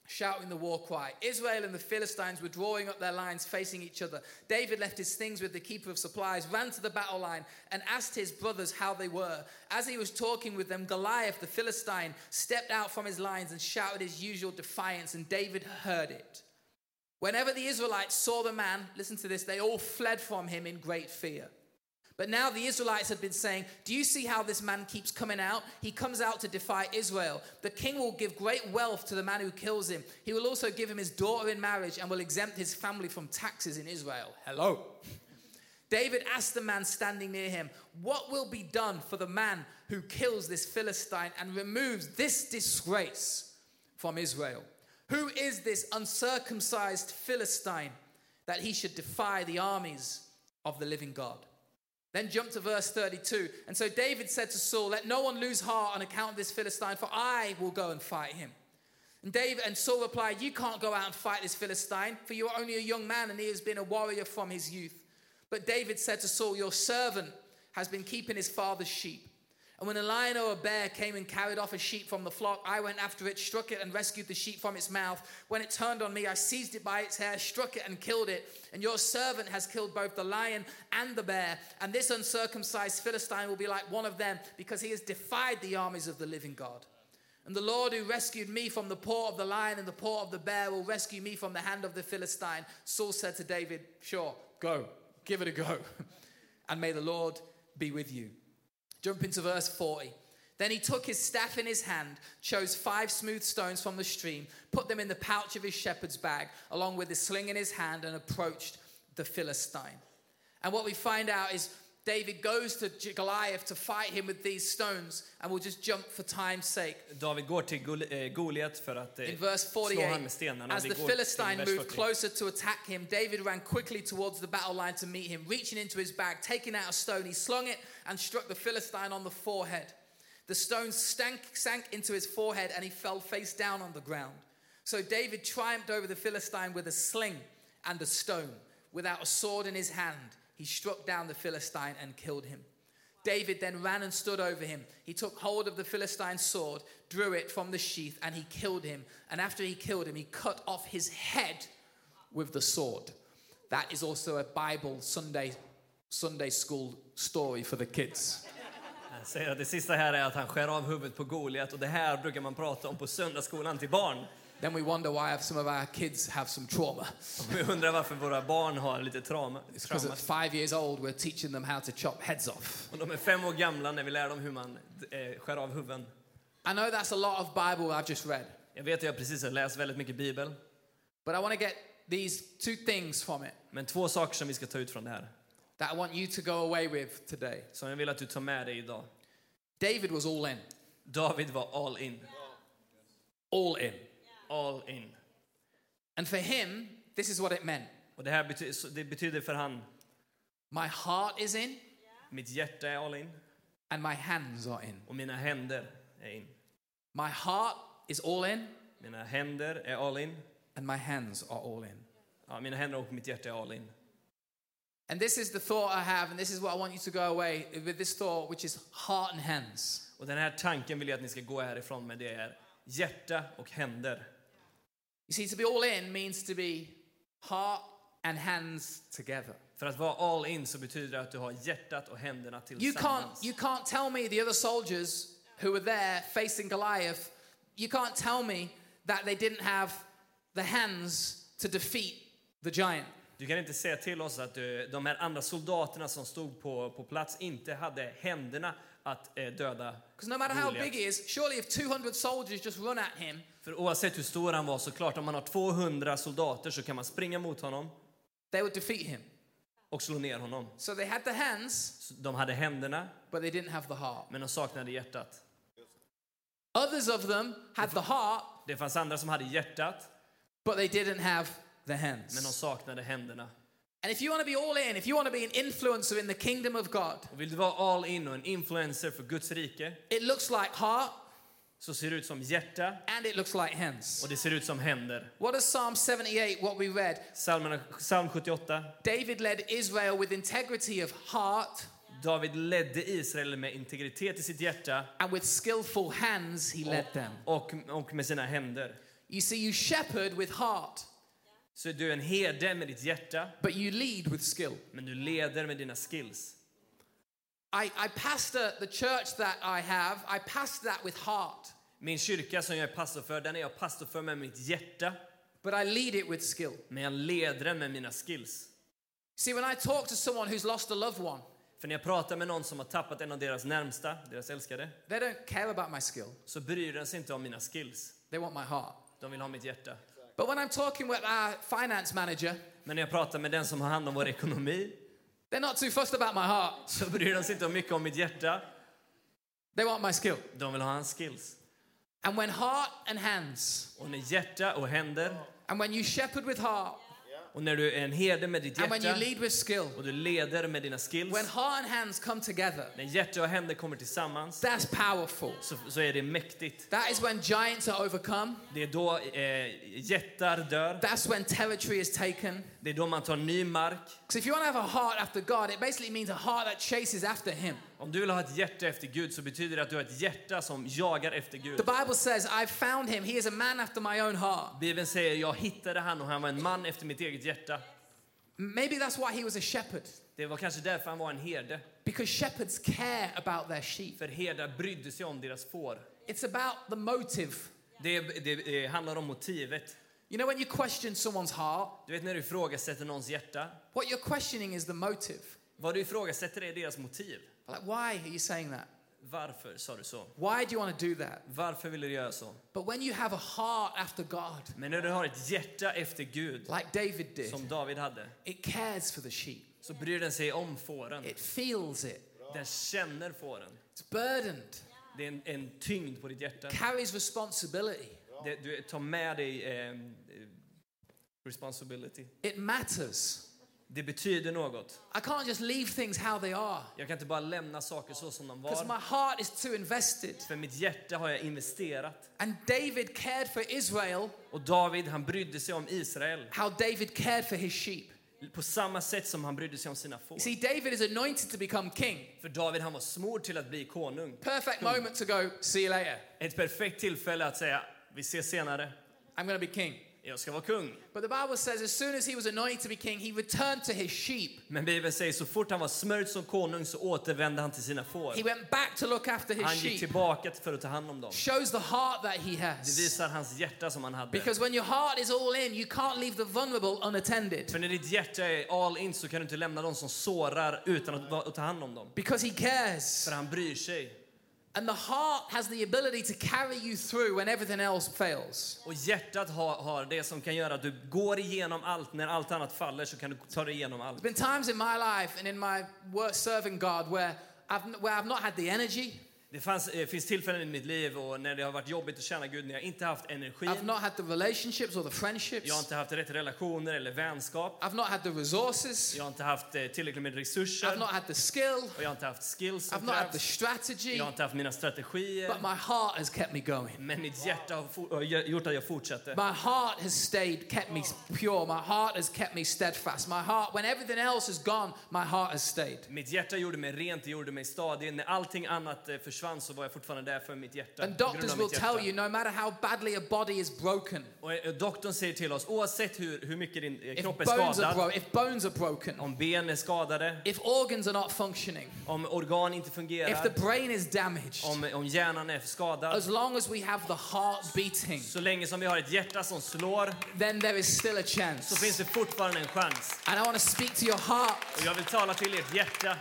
shouting the war cry. Israel and the Philistines were drawing up their lines, facing each other. David left his things with the keeper of supplies, ran to the battle line, and asked his brothers how they were. As he was talking with them, Goliath, the Philistine, stepped out from his lines and shouted his usual defiance, and David heard it. Whenever the Israelites saw the man, listen to this, they all fled from him in great fear. But now the Israelites had been saying, Do you see how this man keeps coming out? He comes out to defy Israel. The king will give great wealth to the man who kills him. He will also give him his daughter in marriage and will exempt his family from taxes in Israel. Hello. David asked the man standing near him, What will be done for the man who kills this Philistine and removes this disgrace from Israel? Who is this uncircumcised Philistine that he should defy the armies of the living God? Then jump to verse 32. And so David said to Saul, Let no one lose heart on account of this Philistine, for I will go and fight him. And David and Saul replied, You can't go out and fight this Philistine, for you are only a young man, and he has been a warrior from his youth. But David said to Saul, Your servant has been keeping his father's sheep. And when a lion or a bear came and carried off a sheep from the flock, I went after it, struck it, and rescued the sheep from its mouth. When it turned on me, I seized it by its hair, struck it, and killed it. And your servant has killed both the lion and the bear. And this uncircumcised Philistine will be like one of them, because he has defied the armies of the living God. And the Lord who rescued me from the paw of the lion and the paw of the bear will rescue me from the hand of the Philistine. Saul said to David, Sure, go, give it a go. and may the Lord be with you. Jump into verse 40. Then he took his staff in his hand, chose five smooth stones from the stream, put them in the pouch of his shepherd's bag, along with his sling in his hand, and approached the Philistine. And what we find out is David goes to J- Goliath to fight him with these stones, and we'll just jump for time's sake.
David går till Gol- eh, Goliat för att eh,
In verse
slå han
48,
med stenarna.
as
Vi
the
går till
Philistine
vers
moved
40.
closer to attack him, David ran quickly towards the battle line to meet him. Reaching into his bag, taking out a stone, he slung it and struck the Philistine on the forehead. The stone stank, sank into his forehead and he fell face down on the ground. So David triumphed over the Philistine with a sling and a stone. Without a sword in his hand, he struck down the Philistine and killed him. David then ran and stood over him. He took hold of the Philistine's sword, drew it from the sheath, and he killed him. And after he killed him, he cut off his head with the sword. That is also a Bible Sunday Sunday school story for the kids.
Han säger att det sista här är att han skär av huvudet på Goliat och det här brukar man prata om på söndagsskolan till barn.
Then we wonder why some of our kids have some trauma.
Och vi undrar varför våra barn har lite trauma.
It's because
trauma.
at five years old, we're teaching them how to chop heads off.
Och de är fem år gamla när vi lär dem hur man eh, skär av huvuden.
I know that's a lot of Bible I've just read,
Jag vet att jag precis har läst väldigt mycket bibel,
but I want to get these two things from it
men två saker som vi ska ta ut från det här,
that I want you to go away with today.
som jag vill att du tar med dig idag.
David was all in.
David var all in.
All in.
All in.
And for him, this is what it meant.
Och det här betyder, så det betyder för han,
My heart is in
mitt hjärta är all in
and my hands are in.
och mina händer är in.
My heart is all in
Mina händer är all in.
and my hands are all in.
Ja, mina händer och mitt hjärta är all in.
And this is the thought I have, and this is what I want you to go away with this thought, which is heart and hands.
Och den här tanken vill jag att ni ska gå härifrån med. Det är hjärta och händer.
You see, to be all in means to be heart and hands together.
För att vara all in så betyder det att du har hjärtat och händerna
You can't,
tillsammans.
you can't tell me the other soldiers who were there facing Goliath, you can't tell me that they didn't have the hands to defeat the giant.
Du kan inte säga till oss att eh, de här andra soldaterna som stod på, på plats inte hade händerna att eh, döda
Because no matter how
Goliat.
big he is, surely if 200 soldiers just run at him,
För oavsett hur stor han var, så klart om man har 200 soldater så kan man springa mot honom
they would defeat him.
och slå ner honom.
So they had the hands,
Så De hade händerna,
but they didn't have the heart.
men de saknade hjärtat.
Others of them had the heart,
Det fanns andra som hade hjärtat,
but they didn't have the
men de
hands.
saknade händerna.
And if you want to be all in, if you want to be an influencer in the kingdom of God,
Och vill du vara all in och en influencer för Guds rike
it looks like heart
så ser det ut som hjärta
and it looks like hands.
och det ser ut som händer.
What does Psalm 78, what we read?
Psalmerna, psalm 78.
David led Israel with integrity of heart
David ledde Israel med integritet i sitt hjärta
and with skillful hands he
Oh.
led them.
och, och med sina händer.
You see, you shepherd with heart,
Så du är en herde med ditt hjärta,
but you lead with skill.
men du leder med dina skills.
I, I pastor the church that I have, I pastor that with heart,
Min kyrka som jag är pastor för, den är jag pastor för med mitt hjärta.
but I lead it with skill.
Men jag leder den med mina skills.
See, when I talk to someone who's lost a loved one,
För när jag pratar med någon som har tappat en av deras närmsta, deras älskade,
they don't care about my skill,
så bryr den sig inte om mina skills.
they want my heart.
De vill ha mitt hjärta.
But when I'm talking with our finance manager,
Men när jag pratar med den som har hand om vår ekonomi,
they're not too fussed about my heart,
så bryr de sig inte om mycket om mitt hjärta.
they want my skill.
De vill ha hans skills.
And when heart and hands,
Och när hjärta och händer,
and when you shepherd with heart,
och när du är en herde med ditt
and when you
hjärta,
lead with skill,
och du leder med dina
when
skills,
heart and hands come together,
när hjärta och händer kommer tillsammans,
that's powerful.
så, så är det mäktigt.
That is when giants are overcome,
Det är då eh, jättar dör.
that's when territory is taken.
Det är då man tar ny mark.
Because if you want to have a heart after God, it basically means a heart that chases after Him.
Om du vill ha ett hjärta efter Gud så betyder det att du har ett hjärta som jagar efter Gud.
The Bible says, I found Him. He is a man after my own heart.
Bibeln säger jag hittade han och han var en man efter mitt eget hjärta.
Maybe that's why He was a shepherd,
Det var kanske därför han var en herde.
because shepherds care about their sheep.
För herdar brydde sig om deras får.
It's about the motive.
Det, det, eh, handlar om motivet.
You know, when you question someone's heart,
Du vet när du ifrågasätter någons hjärta.
what you're questioning is the motive.
Vad du ifrågasätter är deras motiv.
Like, why are you saying that?
Varför sa du så?
Why do you want to do that?
Varför ville du göra så?
But when you have a heart after God,
Men när du har ett hjärta efter Gud,
like David did,
som David hade,
it cares for the sheep.
så bryr den sig om fåren.
It feels it.
Den känner fåren.
It's burdened,
Det är en, en tyngd på ditt hjärta.
carries responsibility.
Det, du tar med dig eh, eh, responsibility.
It matters.
Det betyder något.
I can't just leave things how they are
Jag kan inte bara lämna saker så som de
because
var.
my heart is too invested.
För mitt hjärta har jag investerat.
And David cared for Israel
Och David, han brydde sig om Israel
how David cared for his sheep.
på samma sätt som han brydde sig om sina får.
You see, David is anointed to become king.
För David, han var smord till att bli konung.
Perfect moment to go, see you later.
Ett perfekt tillfälle att säga, vi ses senare.
I'm going to be king.
Jag ska vara kung.
But the Bible says as soon as he was anointed to be king, he returned to his sheep.
Men Bibeln säger så fort han var smörjd som konung så återvände han till sina får.
He went back to look after his
Han gick
sheep.
tillbaka för att ta hand om dem.
Shows the heart that he
Det
has.
visar hans hjärta som han hade.
Because when your heart is all in, you can't leave the vulnerable
För
unattended.
när ditt hjärta är all in så kan du inte lämna dem som sårar utan att, va- att ta hand om dem.
Because he cares.
För han bryr sig.
And the heart has the ability to carry you through when everything else fails.
Och hjärtat har, har det som kan göra att du går igenom allt. När allt annat faller så kan du ta dig igenom allt.
There's been times in my life and in my work serving God where I've, where I've not had the energy,
Det fanns, eh, finns tillfällen i mitt liv och när det har varit jobbigt att tjäna Gud, när jag inte haft energi,
I've not had the relationships or the friendships.
jag har inte haft rätt relationer eller vänskap,
I've not had the resources.
jag har inte haft eh, tillräckligt med resurser
I've not had the skill.
och jag har inte haft skills
I've
som
not had the
krävs.
strategy.
Jag har inte haft mina strategier,
But my heart has kept me going.
men mitt hjärta har for- har gjort att jag fortsätter.
My heart has stayed, kept me pure. My heart has kept me steadfast. My heart, when everything else is gone, my heart has stayed.
Mitt hjärta gjorde mig rent, det gjorde mig stadig. När allting annat eh, försvann så var jag fortfarande där för mitt hjärta.
And
på grund av
doctors
mitt
will
hjärta.
tell you no matter how badly a body is broken,
Och eh, doktorn säger till oss, oavsett hur, hur mycket din eh,
if
kropp är
bones are, bro-
skadad,
if bones are broken,
om ben är skadade,
if organs are not functioning,
om organ inte
if the Alltså-
fungerar,
brain is damaged,
om, om hjärnan är skadad.
as long as we have the heart beating,
Så länge som vi har ett hjärta som slår
then there is still a
så finns
chance.
det fortfarande en chans.
And I want to speak to your heart
Och jag vill tala till ert hjärta,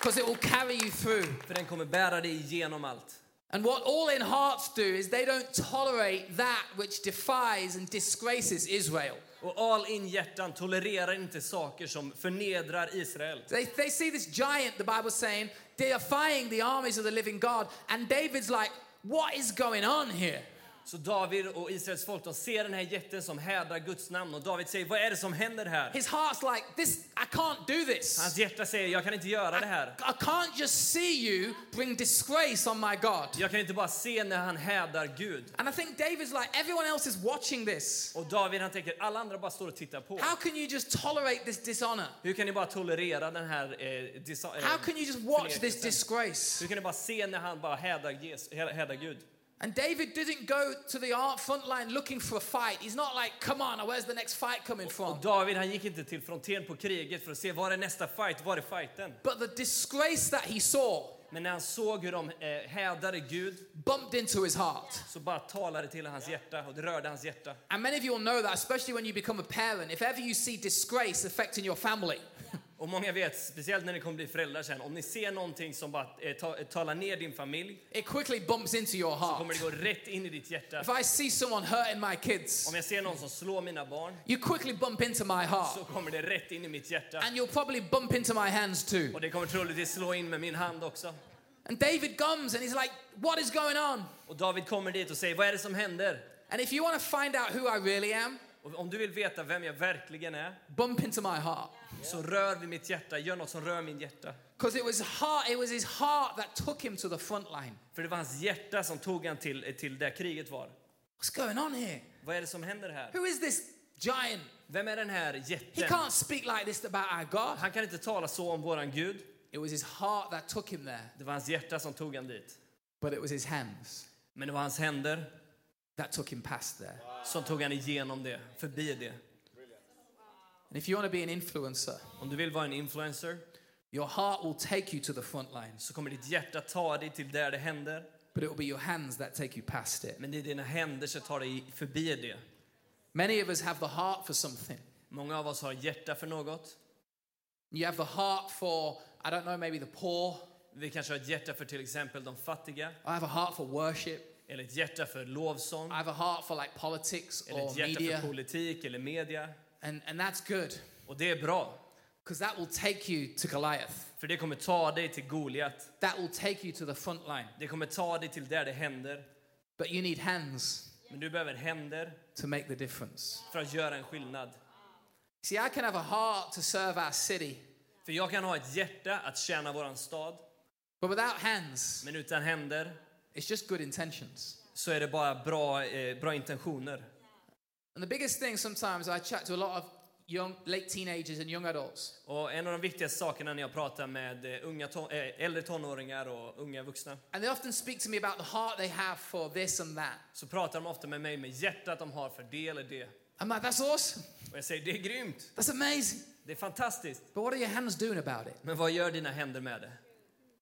because it will carry you through.
för den kommer bära dig igenom allt.
And what all in hearts do is they don't tolerate that which defies and disgraces Israel.
Och all in hjärtan tolererar inte saker som förnedrar Israel.
They, they see this giant, the Bible's saying, defying the armies of the living God. And David's like, what is going on here?
Så David och Israels folk de ser den här jätten som hädrar Guds namn och David säger vad är det som händer här?
His heart's like, this, I can't do
Hans
this.
hjärta säger jag kan inte göra det
I,
här.
I can't just see you bring disgrace on my God.
Jag kan inte bara se när han hädar Gud.
And I think David's like, everyone else is watching this.
Och David han tänker alla andra bara står och tittar på.
How can you just tolerate this dishonor?
Hur kan ni bara tolerera den här eh, disa- eh,
How can you just watch this
förnekelsen?
disgrace?
Hur kan ni bara se när han bara hädar, Jesus, hä- hädar Gud?
And David didn't go to the art front line looking for a fight. He's not like, come on, where's the next fight coming from?
Och David han gick inte till fronten på kriget för att se var är nästa fight, var är fighten?
But the disgrace that he saw
Men när han såg hur de eh, hädade Gud
bumped into his heart.
så bara talade det till hans hjärta och det rörde hans hjärta.
And many of you will know that, especially when you become a parent, if ever you see disgrace affecting your family,
Och många vet, speciellt när ni kommer bli föräldrar sen, om ni ser någonting som bara eh, ta, eh, talar ner din familj
it quickly bumps into your
kommer
heart.
det gå rätt in i ditt hjärta.
If I see someone hurting my
Om
kids,
jag ser någon som slår mina barn
you quickly bump into my
så
heart.
kommer det rätt in i mitt hjärta.
And you'll probably bump into my hands too.
Och det kommer troligtvis slå in med min hand också.
And David comes and he's like, What is going on?
Och David kommer dit och säger, vad är det som händer?
And if you want to find out who I really am,
Och om du vill veta vem jag verkligen är
bump into my heart.
så rör vid mitt hjärta, gör något som rör mitt hjärta.
Because it was heart, it was his heart that took him to the front line.
För det var hans hjärta som tog han till, eh, till där kriget var.
What's going on here?
Vad är det som händer här?
Who is this giant?
Vem är den här
He
jätten?
can't speak like this about our God.
Han kan inte tala så om våran Gud.
It was his heart that took him there,
Det var hans hjärta som tog han dit.
but it was his hands
Men det var hans händer
that took him past there.
som tog han igenom det, förbi det.
And if you want to be an influencer,
Om du vill vara en influencer
your heart will take you to the front lines,
så kommer ditt hjärta ta dig till där det händer.
but it will be your hands that take you past it.
Men det är dina händer som tar dig förbi det.
Many of us have the heart for something.
Många av oss har hjärta för något.
You have the heart for, I don't know, maybe the poor.
Vi kanske har ett hjärta för till exempel de fattiga,
I have a heart for worship.
eller ett hjärta för lovsång,
I have a heart for like politics
eller
or
ett hjärta
media.
för politik eller media.
And, and that's good
Och det är bra,
because that will take you to Goliath.
för det kommer ta dig till Goliat.
That will take you to the front line.
Det kommer ta dig till där det händer.
But you need hands
Men du behöver händer
to make the difference.
för att göra en skillnad.
See, I can have a heart to serve our city,
För jag kan ha ett hjärta att tjäna våran stad,
but without hands,
men utan händer
it's just good intentions.
så är det bara bra, eh, bra intentioner.
And the biggest thing sometimes I chat to a lot of young, late teenagers and young adults,
Och en av de viktigaste sakerna när jag pratar med eh, unga ton- eh, äldre tonåringar och unga vuxna
and they often speak to me about the heart they have for this and that.
så pratar de ofta med mig med hjärtat de har för det eller det.
I'm like, that's awesome.
Och jag säger det är grymt,
That's amazing.
det är fantastiskt.
But what are your hands doing about it?
Men vad gör dina händer med det?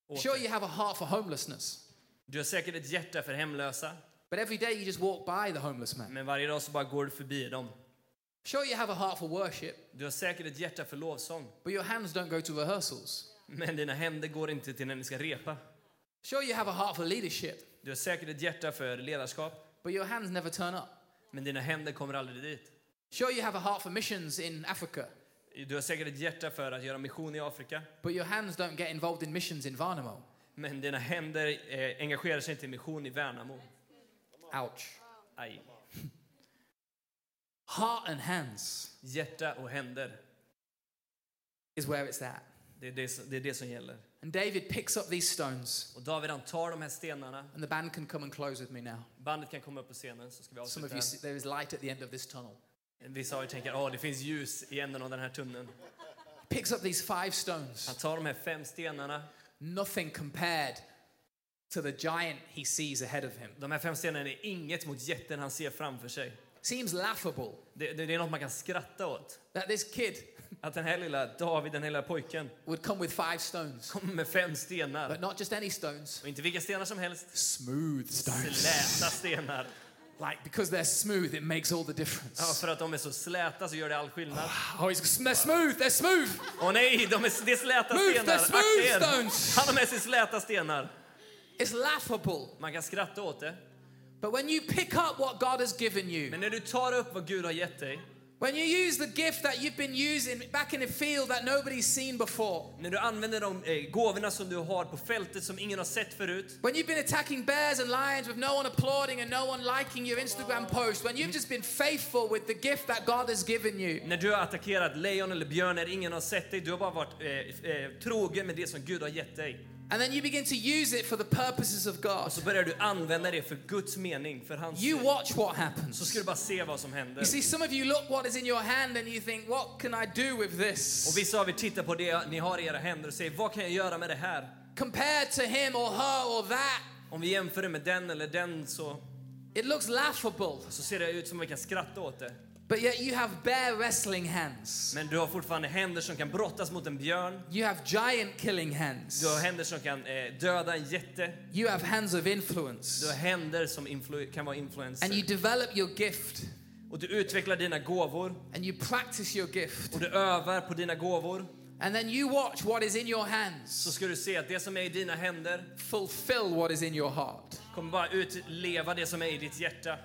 Åt
Sure,
det?
you have a heart for homelessness,
Du har säkert ett hjärta för hemlösa,
but every day you just walk by the homeless man.
men varje dag så bara går du förbi dem.
Sure, you have a heart for worship,
Du har säkert ett hjärta för lovsång,
but your hands don't go to rehearsals.
men dina händer går inte till när ni ska repa.
Sure, you have a heart for leadership,
Du har säkert ett hjärta för ledarskap,
but your hands never turn up.
men dina händer kommer aldrig dit.
Sure, you have a heart for missions in Africa,
Du har säkert ett hjärta för att göra mission i Afrika,
but your hands don't get involved in missions in Varnamo.
men dina händer eh, engagerar sig inte i mission i Värnamo.
Ouch.
Aj.
Heart and hands
Hjärta och händer,
is where it's at.
det är det, som- det är det som gäller.
And David picks up these stones,
Och David han tar de här stenarna.
and the band can come and close with me now.
Bandet kan komma upp på scenen så ska vi
Some
avsluta.
of you, see, there is light at the end of this tunnel.
Vissa av er tänker att det finns ljus i änden av den här tunneln.
Picks up these five stones.
Han tar de här fem stenarna.
Nothing compared to the giant he sees ahead of him.
De här fem stenarna är inget mot jätten han ser framför sig.
Seems laughable
Det, det, det är något man kan skratta åt.
that this kid
Att den här lilla David, den här lilla pojken,
would come with five stones,
kommer med fem stenar.
but not just any stones.
Och inte vilka stenar som helst.
Smooth
Släta stenar.
Like because they're smooth, it makes all the difference.
Ja, för att de är så släta så gör det all skillnad.
Oh, he's, they're smooth. They're smooth.
Åh nej, de är, det är släta
Move
stenar!
the smooth
Akta er.
stones.
Han har med sig släta stenar.
It's laughable.
Man kan skratta åt det.
But when you pick up what God has given you,
Men när du tar upp vad Gud har gett dig,
when you use the gift that you've been using back in a field that nobody's seen before,
när du använder de eh, gåvorna som du har på fältet som ingen har sett förut,
when you've been attacking bears and lions with no one applauding and no one liking your Instagram post, when you've just been faithful with the gift that God has given you,
när du har attackerat lejon eller björn när ingen har sett dig, du har bara varit eh, eh, trogen med det som Gud har gett dig.
and then you begin to use it for the purposes of God,
Så börjar du använda det för Guds mening, för hans
you watch what
Så ska
happens.
du bara se vad som händer.
You see, some of you look what is in your hand and you think, what can I do with this?
Och vissa av er tittar på det ni har i era händer och säger, vad kan jag göra med det här?
compared to him or her or that,
Om vi jämför det med den eller den så,
it looks laughable.
så ser det ut som att vi kan skratta åt det.
But yet you have bare wrestling hands.
Men du har fortfarande händer som kan brottas mot en björn.
You have giant killing hands.
Du har händer som kan eh, döda en jätte.
You have hands of
Du har
influence.
händer som influ- kan vara
And you
influencer.
develop your gift
Och du utvecklar dina gåvor
and you practice your gift.
och du övar på dina gåvor.
And then you watch what is in your
Så
hands
ska du se att det som är i dina händer
fulfill what is in your heart.
kommer bara utleva det som är i ditt hjärta.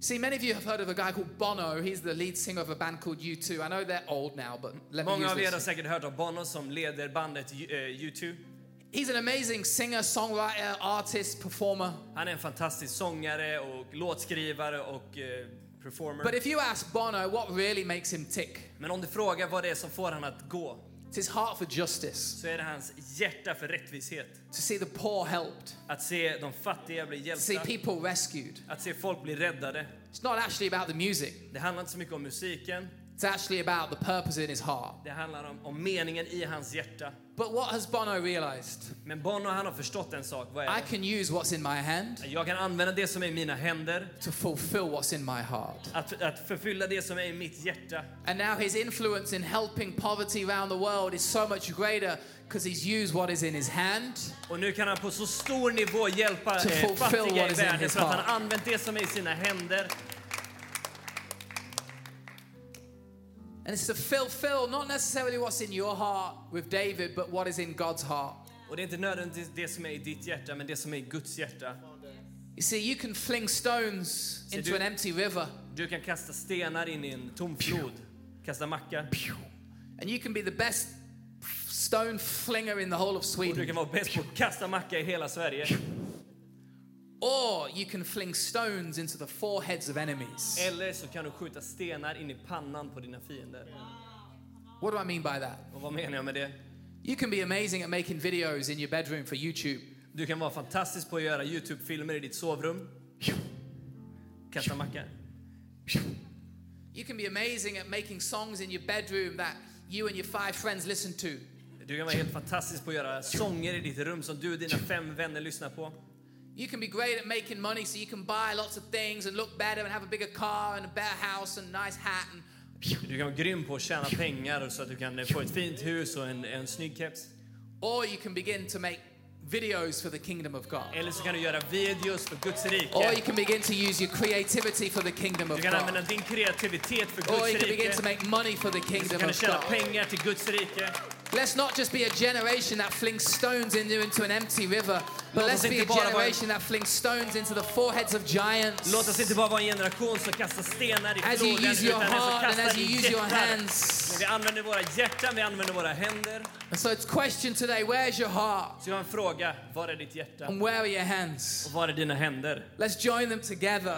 See, many of you have heard of a guy called Bono. He's the lead singer of a band called U2. I know they're old now, but let me
Många
use
av er har
this.
säkert hört av Bono som leder bandet U- eh, U2.
He's an amazing singer, songwriter, artist, performer.
Han är en fantastisk sångare och låtskrivare och eh,
But
performer.
if you ask Bono what really makes him tick,
Men om du frågar vad det är som får han att gå
It's his heart for justice,
så är det hans hjärta för rättvishet.
to see the poor helped,
Att se de fattiga bli
to see
hjälpta,
people rescued.
att se folk bli räddade.
It's not actually about the music,
Det handlar inte så mycket om musiken,
it's actually about the purpose in his heart.
det handlar om, om meningen i hans hjärta.
But what has Bono realized?
Men Bono han har förstått en sak, vad
I
är
can use what's in my hand
det? Jag kan använda det som är i mina händer,
to fulfill what's in my heart.
att, att förfylla det som är i mitt hjärta.
And now his influence in helping poverty around the world is so much greater because he's used what is in his hand
Och nu kan han på så stor nivå hjälpa
To
eh,
fulfill
fattiga
what
i
is in
världen
his
för att han
heart.
har använt det som är i sina händer.
and it's to fulfill not necessarily what's in your heart with David, but what is in God's heart.
Och det är inte nödvändigtvis det som är i ditt hjärta, men det som är i Guds hjärta.
You see, you can fling stones into
du-
an empty river.
Du kan kasta stenar in i en tom flod, kasta macka.
And you can be the best stone flinger in the whole of
Och du kan
Sweden.
vara bäst på att kasta macka i hela Sverige.
Or you can fling stones into the foreheads of enemies.
Eller så kan du skjuta stenar in i pannan på dina fiender.
What do I mean by that?
Och vad menar jag med det?
You can be amazing at making videos in your bedroom for YouTube.
Du kan vara fantastisk på att göra Youtube-filmer i ditt sovrum. Kasta macka.
You can be amazing at making songs in your bedroom that you and your five friends listen to.
Du kan vara helt fantastisk på att göra sånger i ditt rum som du och dina fem vänner lyssnar på.
You can be great at making money so you can buy lots of things and look better and have a bigger car and a better house and a nice hat and
Du kan vara grym på att tjäna pengar så att du kan eh, få ett fint hus och en, en snygg keps.
or you can begin to make videos for the kingdom of God.
Eller så kan du göra videos för Guds
Or
rike.
you can begin to use your creativity for the kingdom
Du
of
kan
God.
använda din kreativitet för
Or you
Guds
can begin to
rike.
make money for the
Du
kingdom
kan
of
tjäna
God.
pengar till Guds rike.
Let's not just be a generation that flings stones into, into an empty river, but
Låt
let's
oss
be a
inte bara vara en-
generation that flings stones into the foreheads of giants.
Låt oss inte bara vara en generation som kastar stenar i
As you
floden
use your
utan en som
heart and
kastar
as you
i
use your
jättar.
hands.
Och
hearts.
vi använder våra hjärtan, vi använder våra händer.
And so it's question today, where's your heart?
Så jag har en fråga. Var är ditt hjärta?
And where are your hands?
Och var är dina händer?
Let's join them together.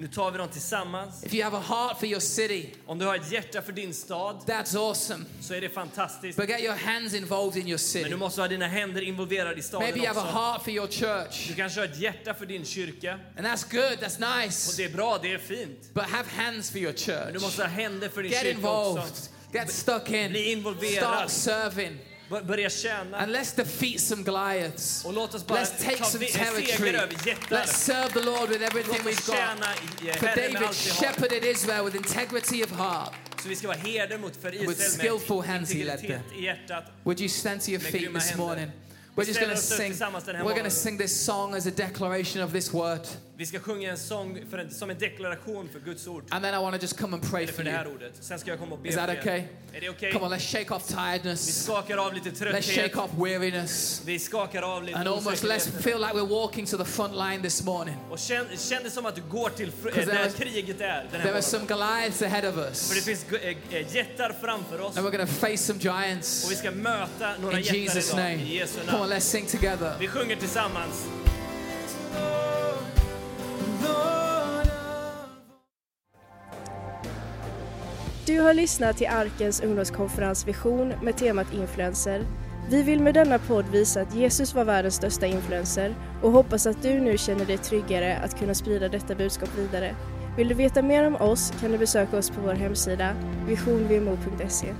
Nu tar vi dem tillsammans.
If you have a heart for your city,
Om du har ett hjärta för din stad
that's awesome.
så är det fantastiskt.
But get your hands involved in your
Men du
city.
måste ha dina händer involverade i
Maybe you
staden
have a
också.
heart for your church.
Du kanske har ett hjärta för din kyrka.
And that's good, that's
Och
nice.
det är bra, det är fint.
But have hands for your
Men
church.
du måste ha händer för din
Get
kyrka
involved.
också.
Get stuck in.
Bli
Start
involverad.
serving.
Bör- Börja tjäna.
And let's defeat some Goliaths.
Och låt oss bara
Let's take
ta
some
vi- en seger
territory.
över jättar.
Let's serve the Lord with everything
Låt
we've
oss
got.
tjäna i-
For
Herren med
David
allt vi har.
shepherded Israel with integrity of heart.
Så vi ska vara herder mot för
With
Israel
skillful
med
hands he led
integritet i hjärtat.
Would you stand to your
Med
feet
grymma
this
händer.
morning? We're
Vi
just going to
ställer oss upp
sing.
tillsammans den här
We're going to
morgonen.
sing this song as a declaration of this word.
Vi ska sjunga en sång för en, som en deklaration för Guds ord.
And then I want to just come and pray
Eller
for
för det här
you.
ordet. Sen ska jag komma och be
Is that
för er.
okay?
Är det okej?
Come on, let's shake off
Vi
tiredness.
skakar av lite
Let's
trötthet.
shake off weariness.
Vi skakar av lite
And almost let's
osäkerhet.
feel like we're walking to the front line this morning.
Och känn, känn det som att du går till fr-
there
eh, där
was-
kriget är. Den här
There are
morgonen.
some Goliaths ahead of
För det
us.
finns gu- eh, eh, jättar framför oss.
And we're going to face some
Och vi
giants
ska möta några
in
jättar
Jesus'
idag. I
name.
Jesu
Come on,
namn.
let's sing together.
Vi sjunger tillsammans.
Du har lyssnat till Arkens ungdomskonferens Vision med temat influencer. Vi vill med denna podd visa att Jesus var världens största influencer och hoppas att du nu känner dig tryggare att kunna sprida detta budskap vidare. Vill du veta mer om oss kan du besöka oss på vår hemsida visionvmo.se.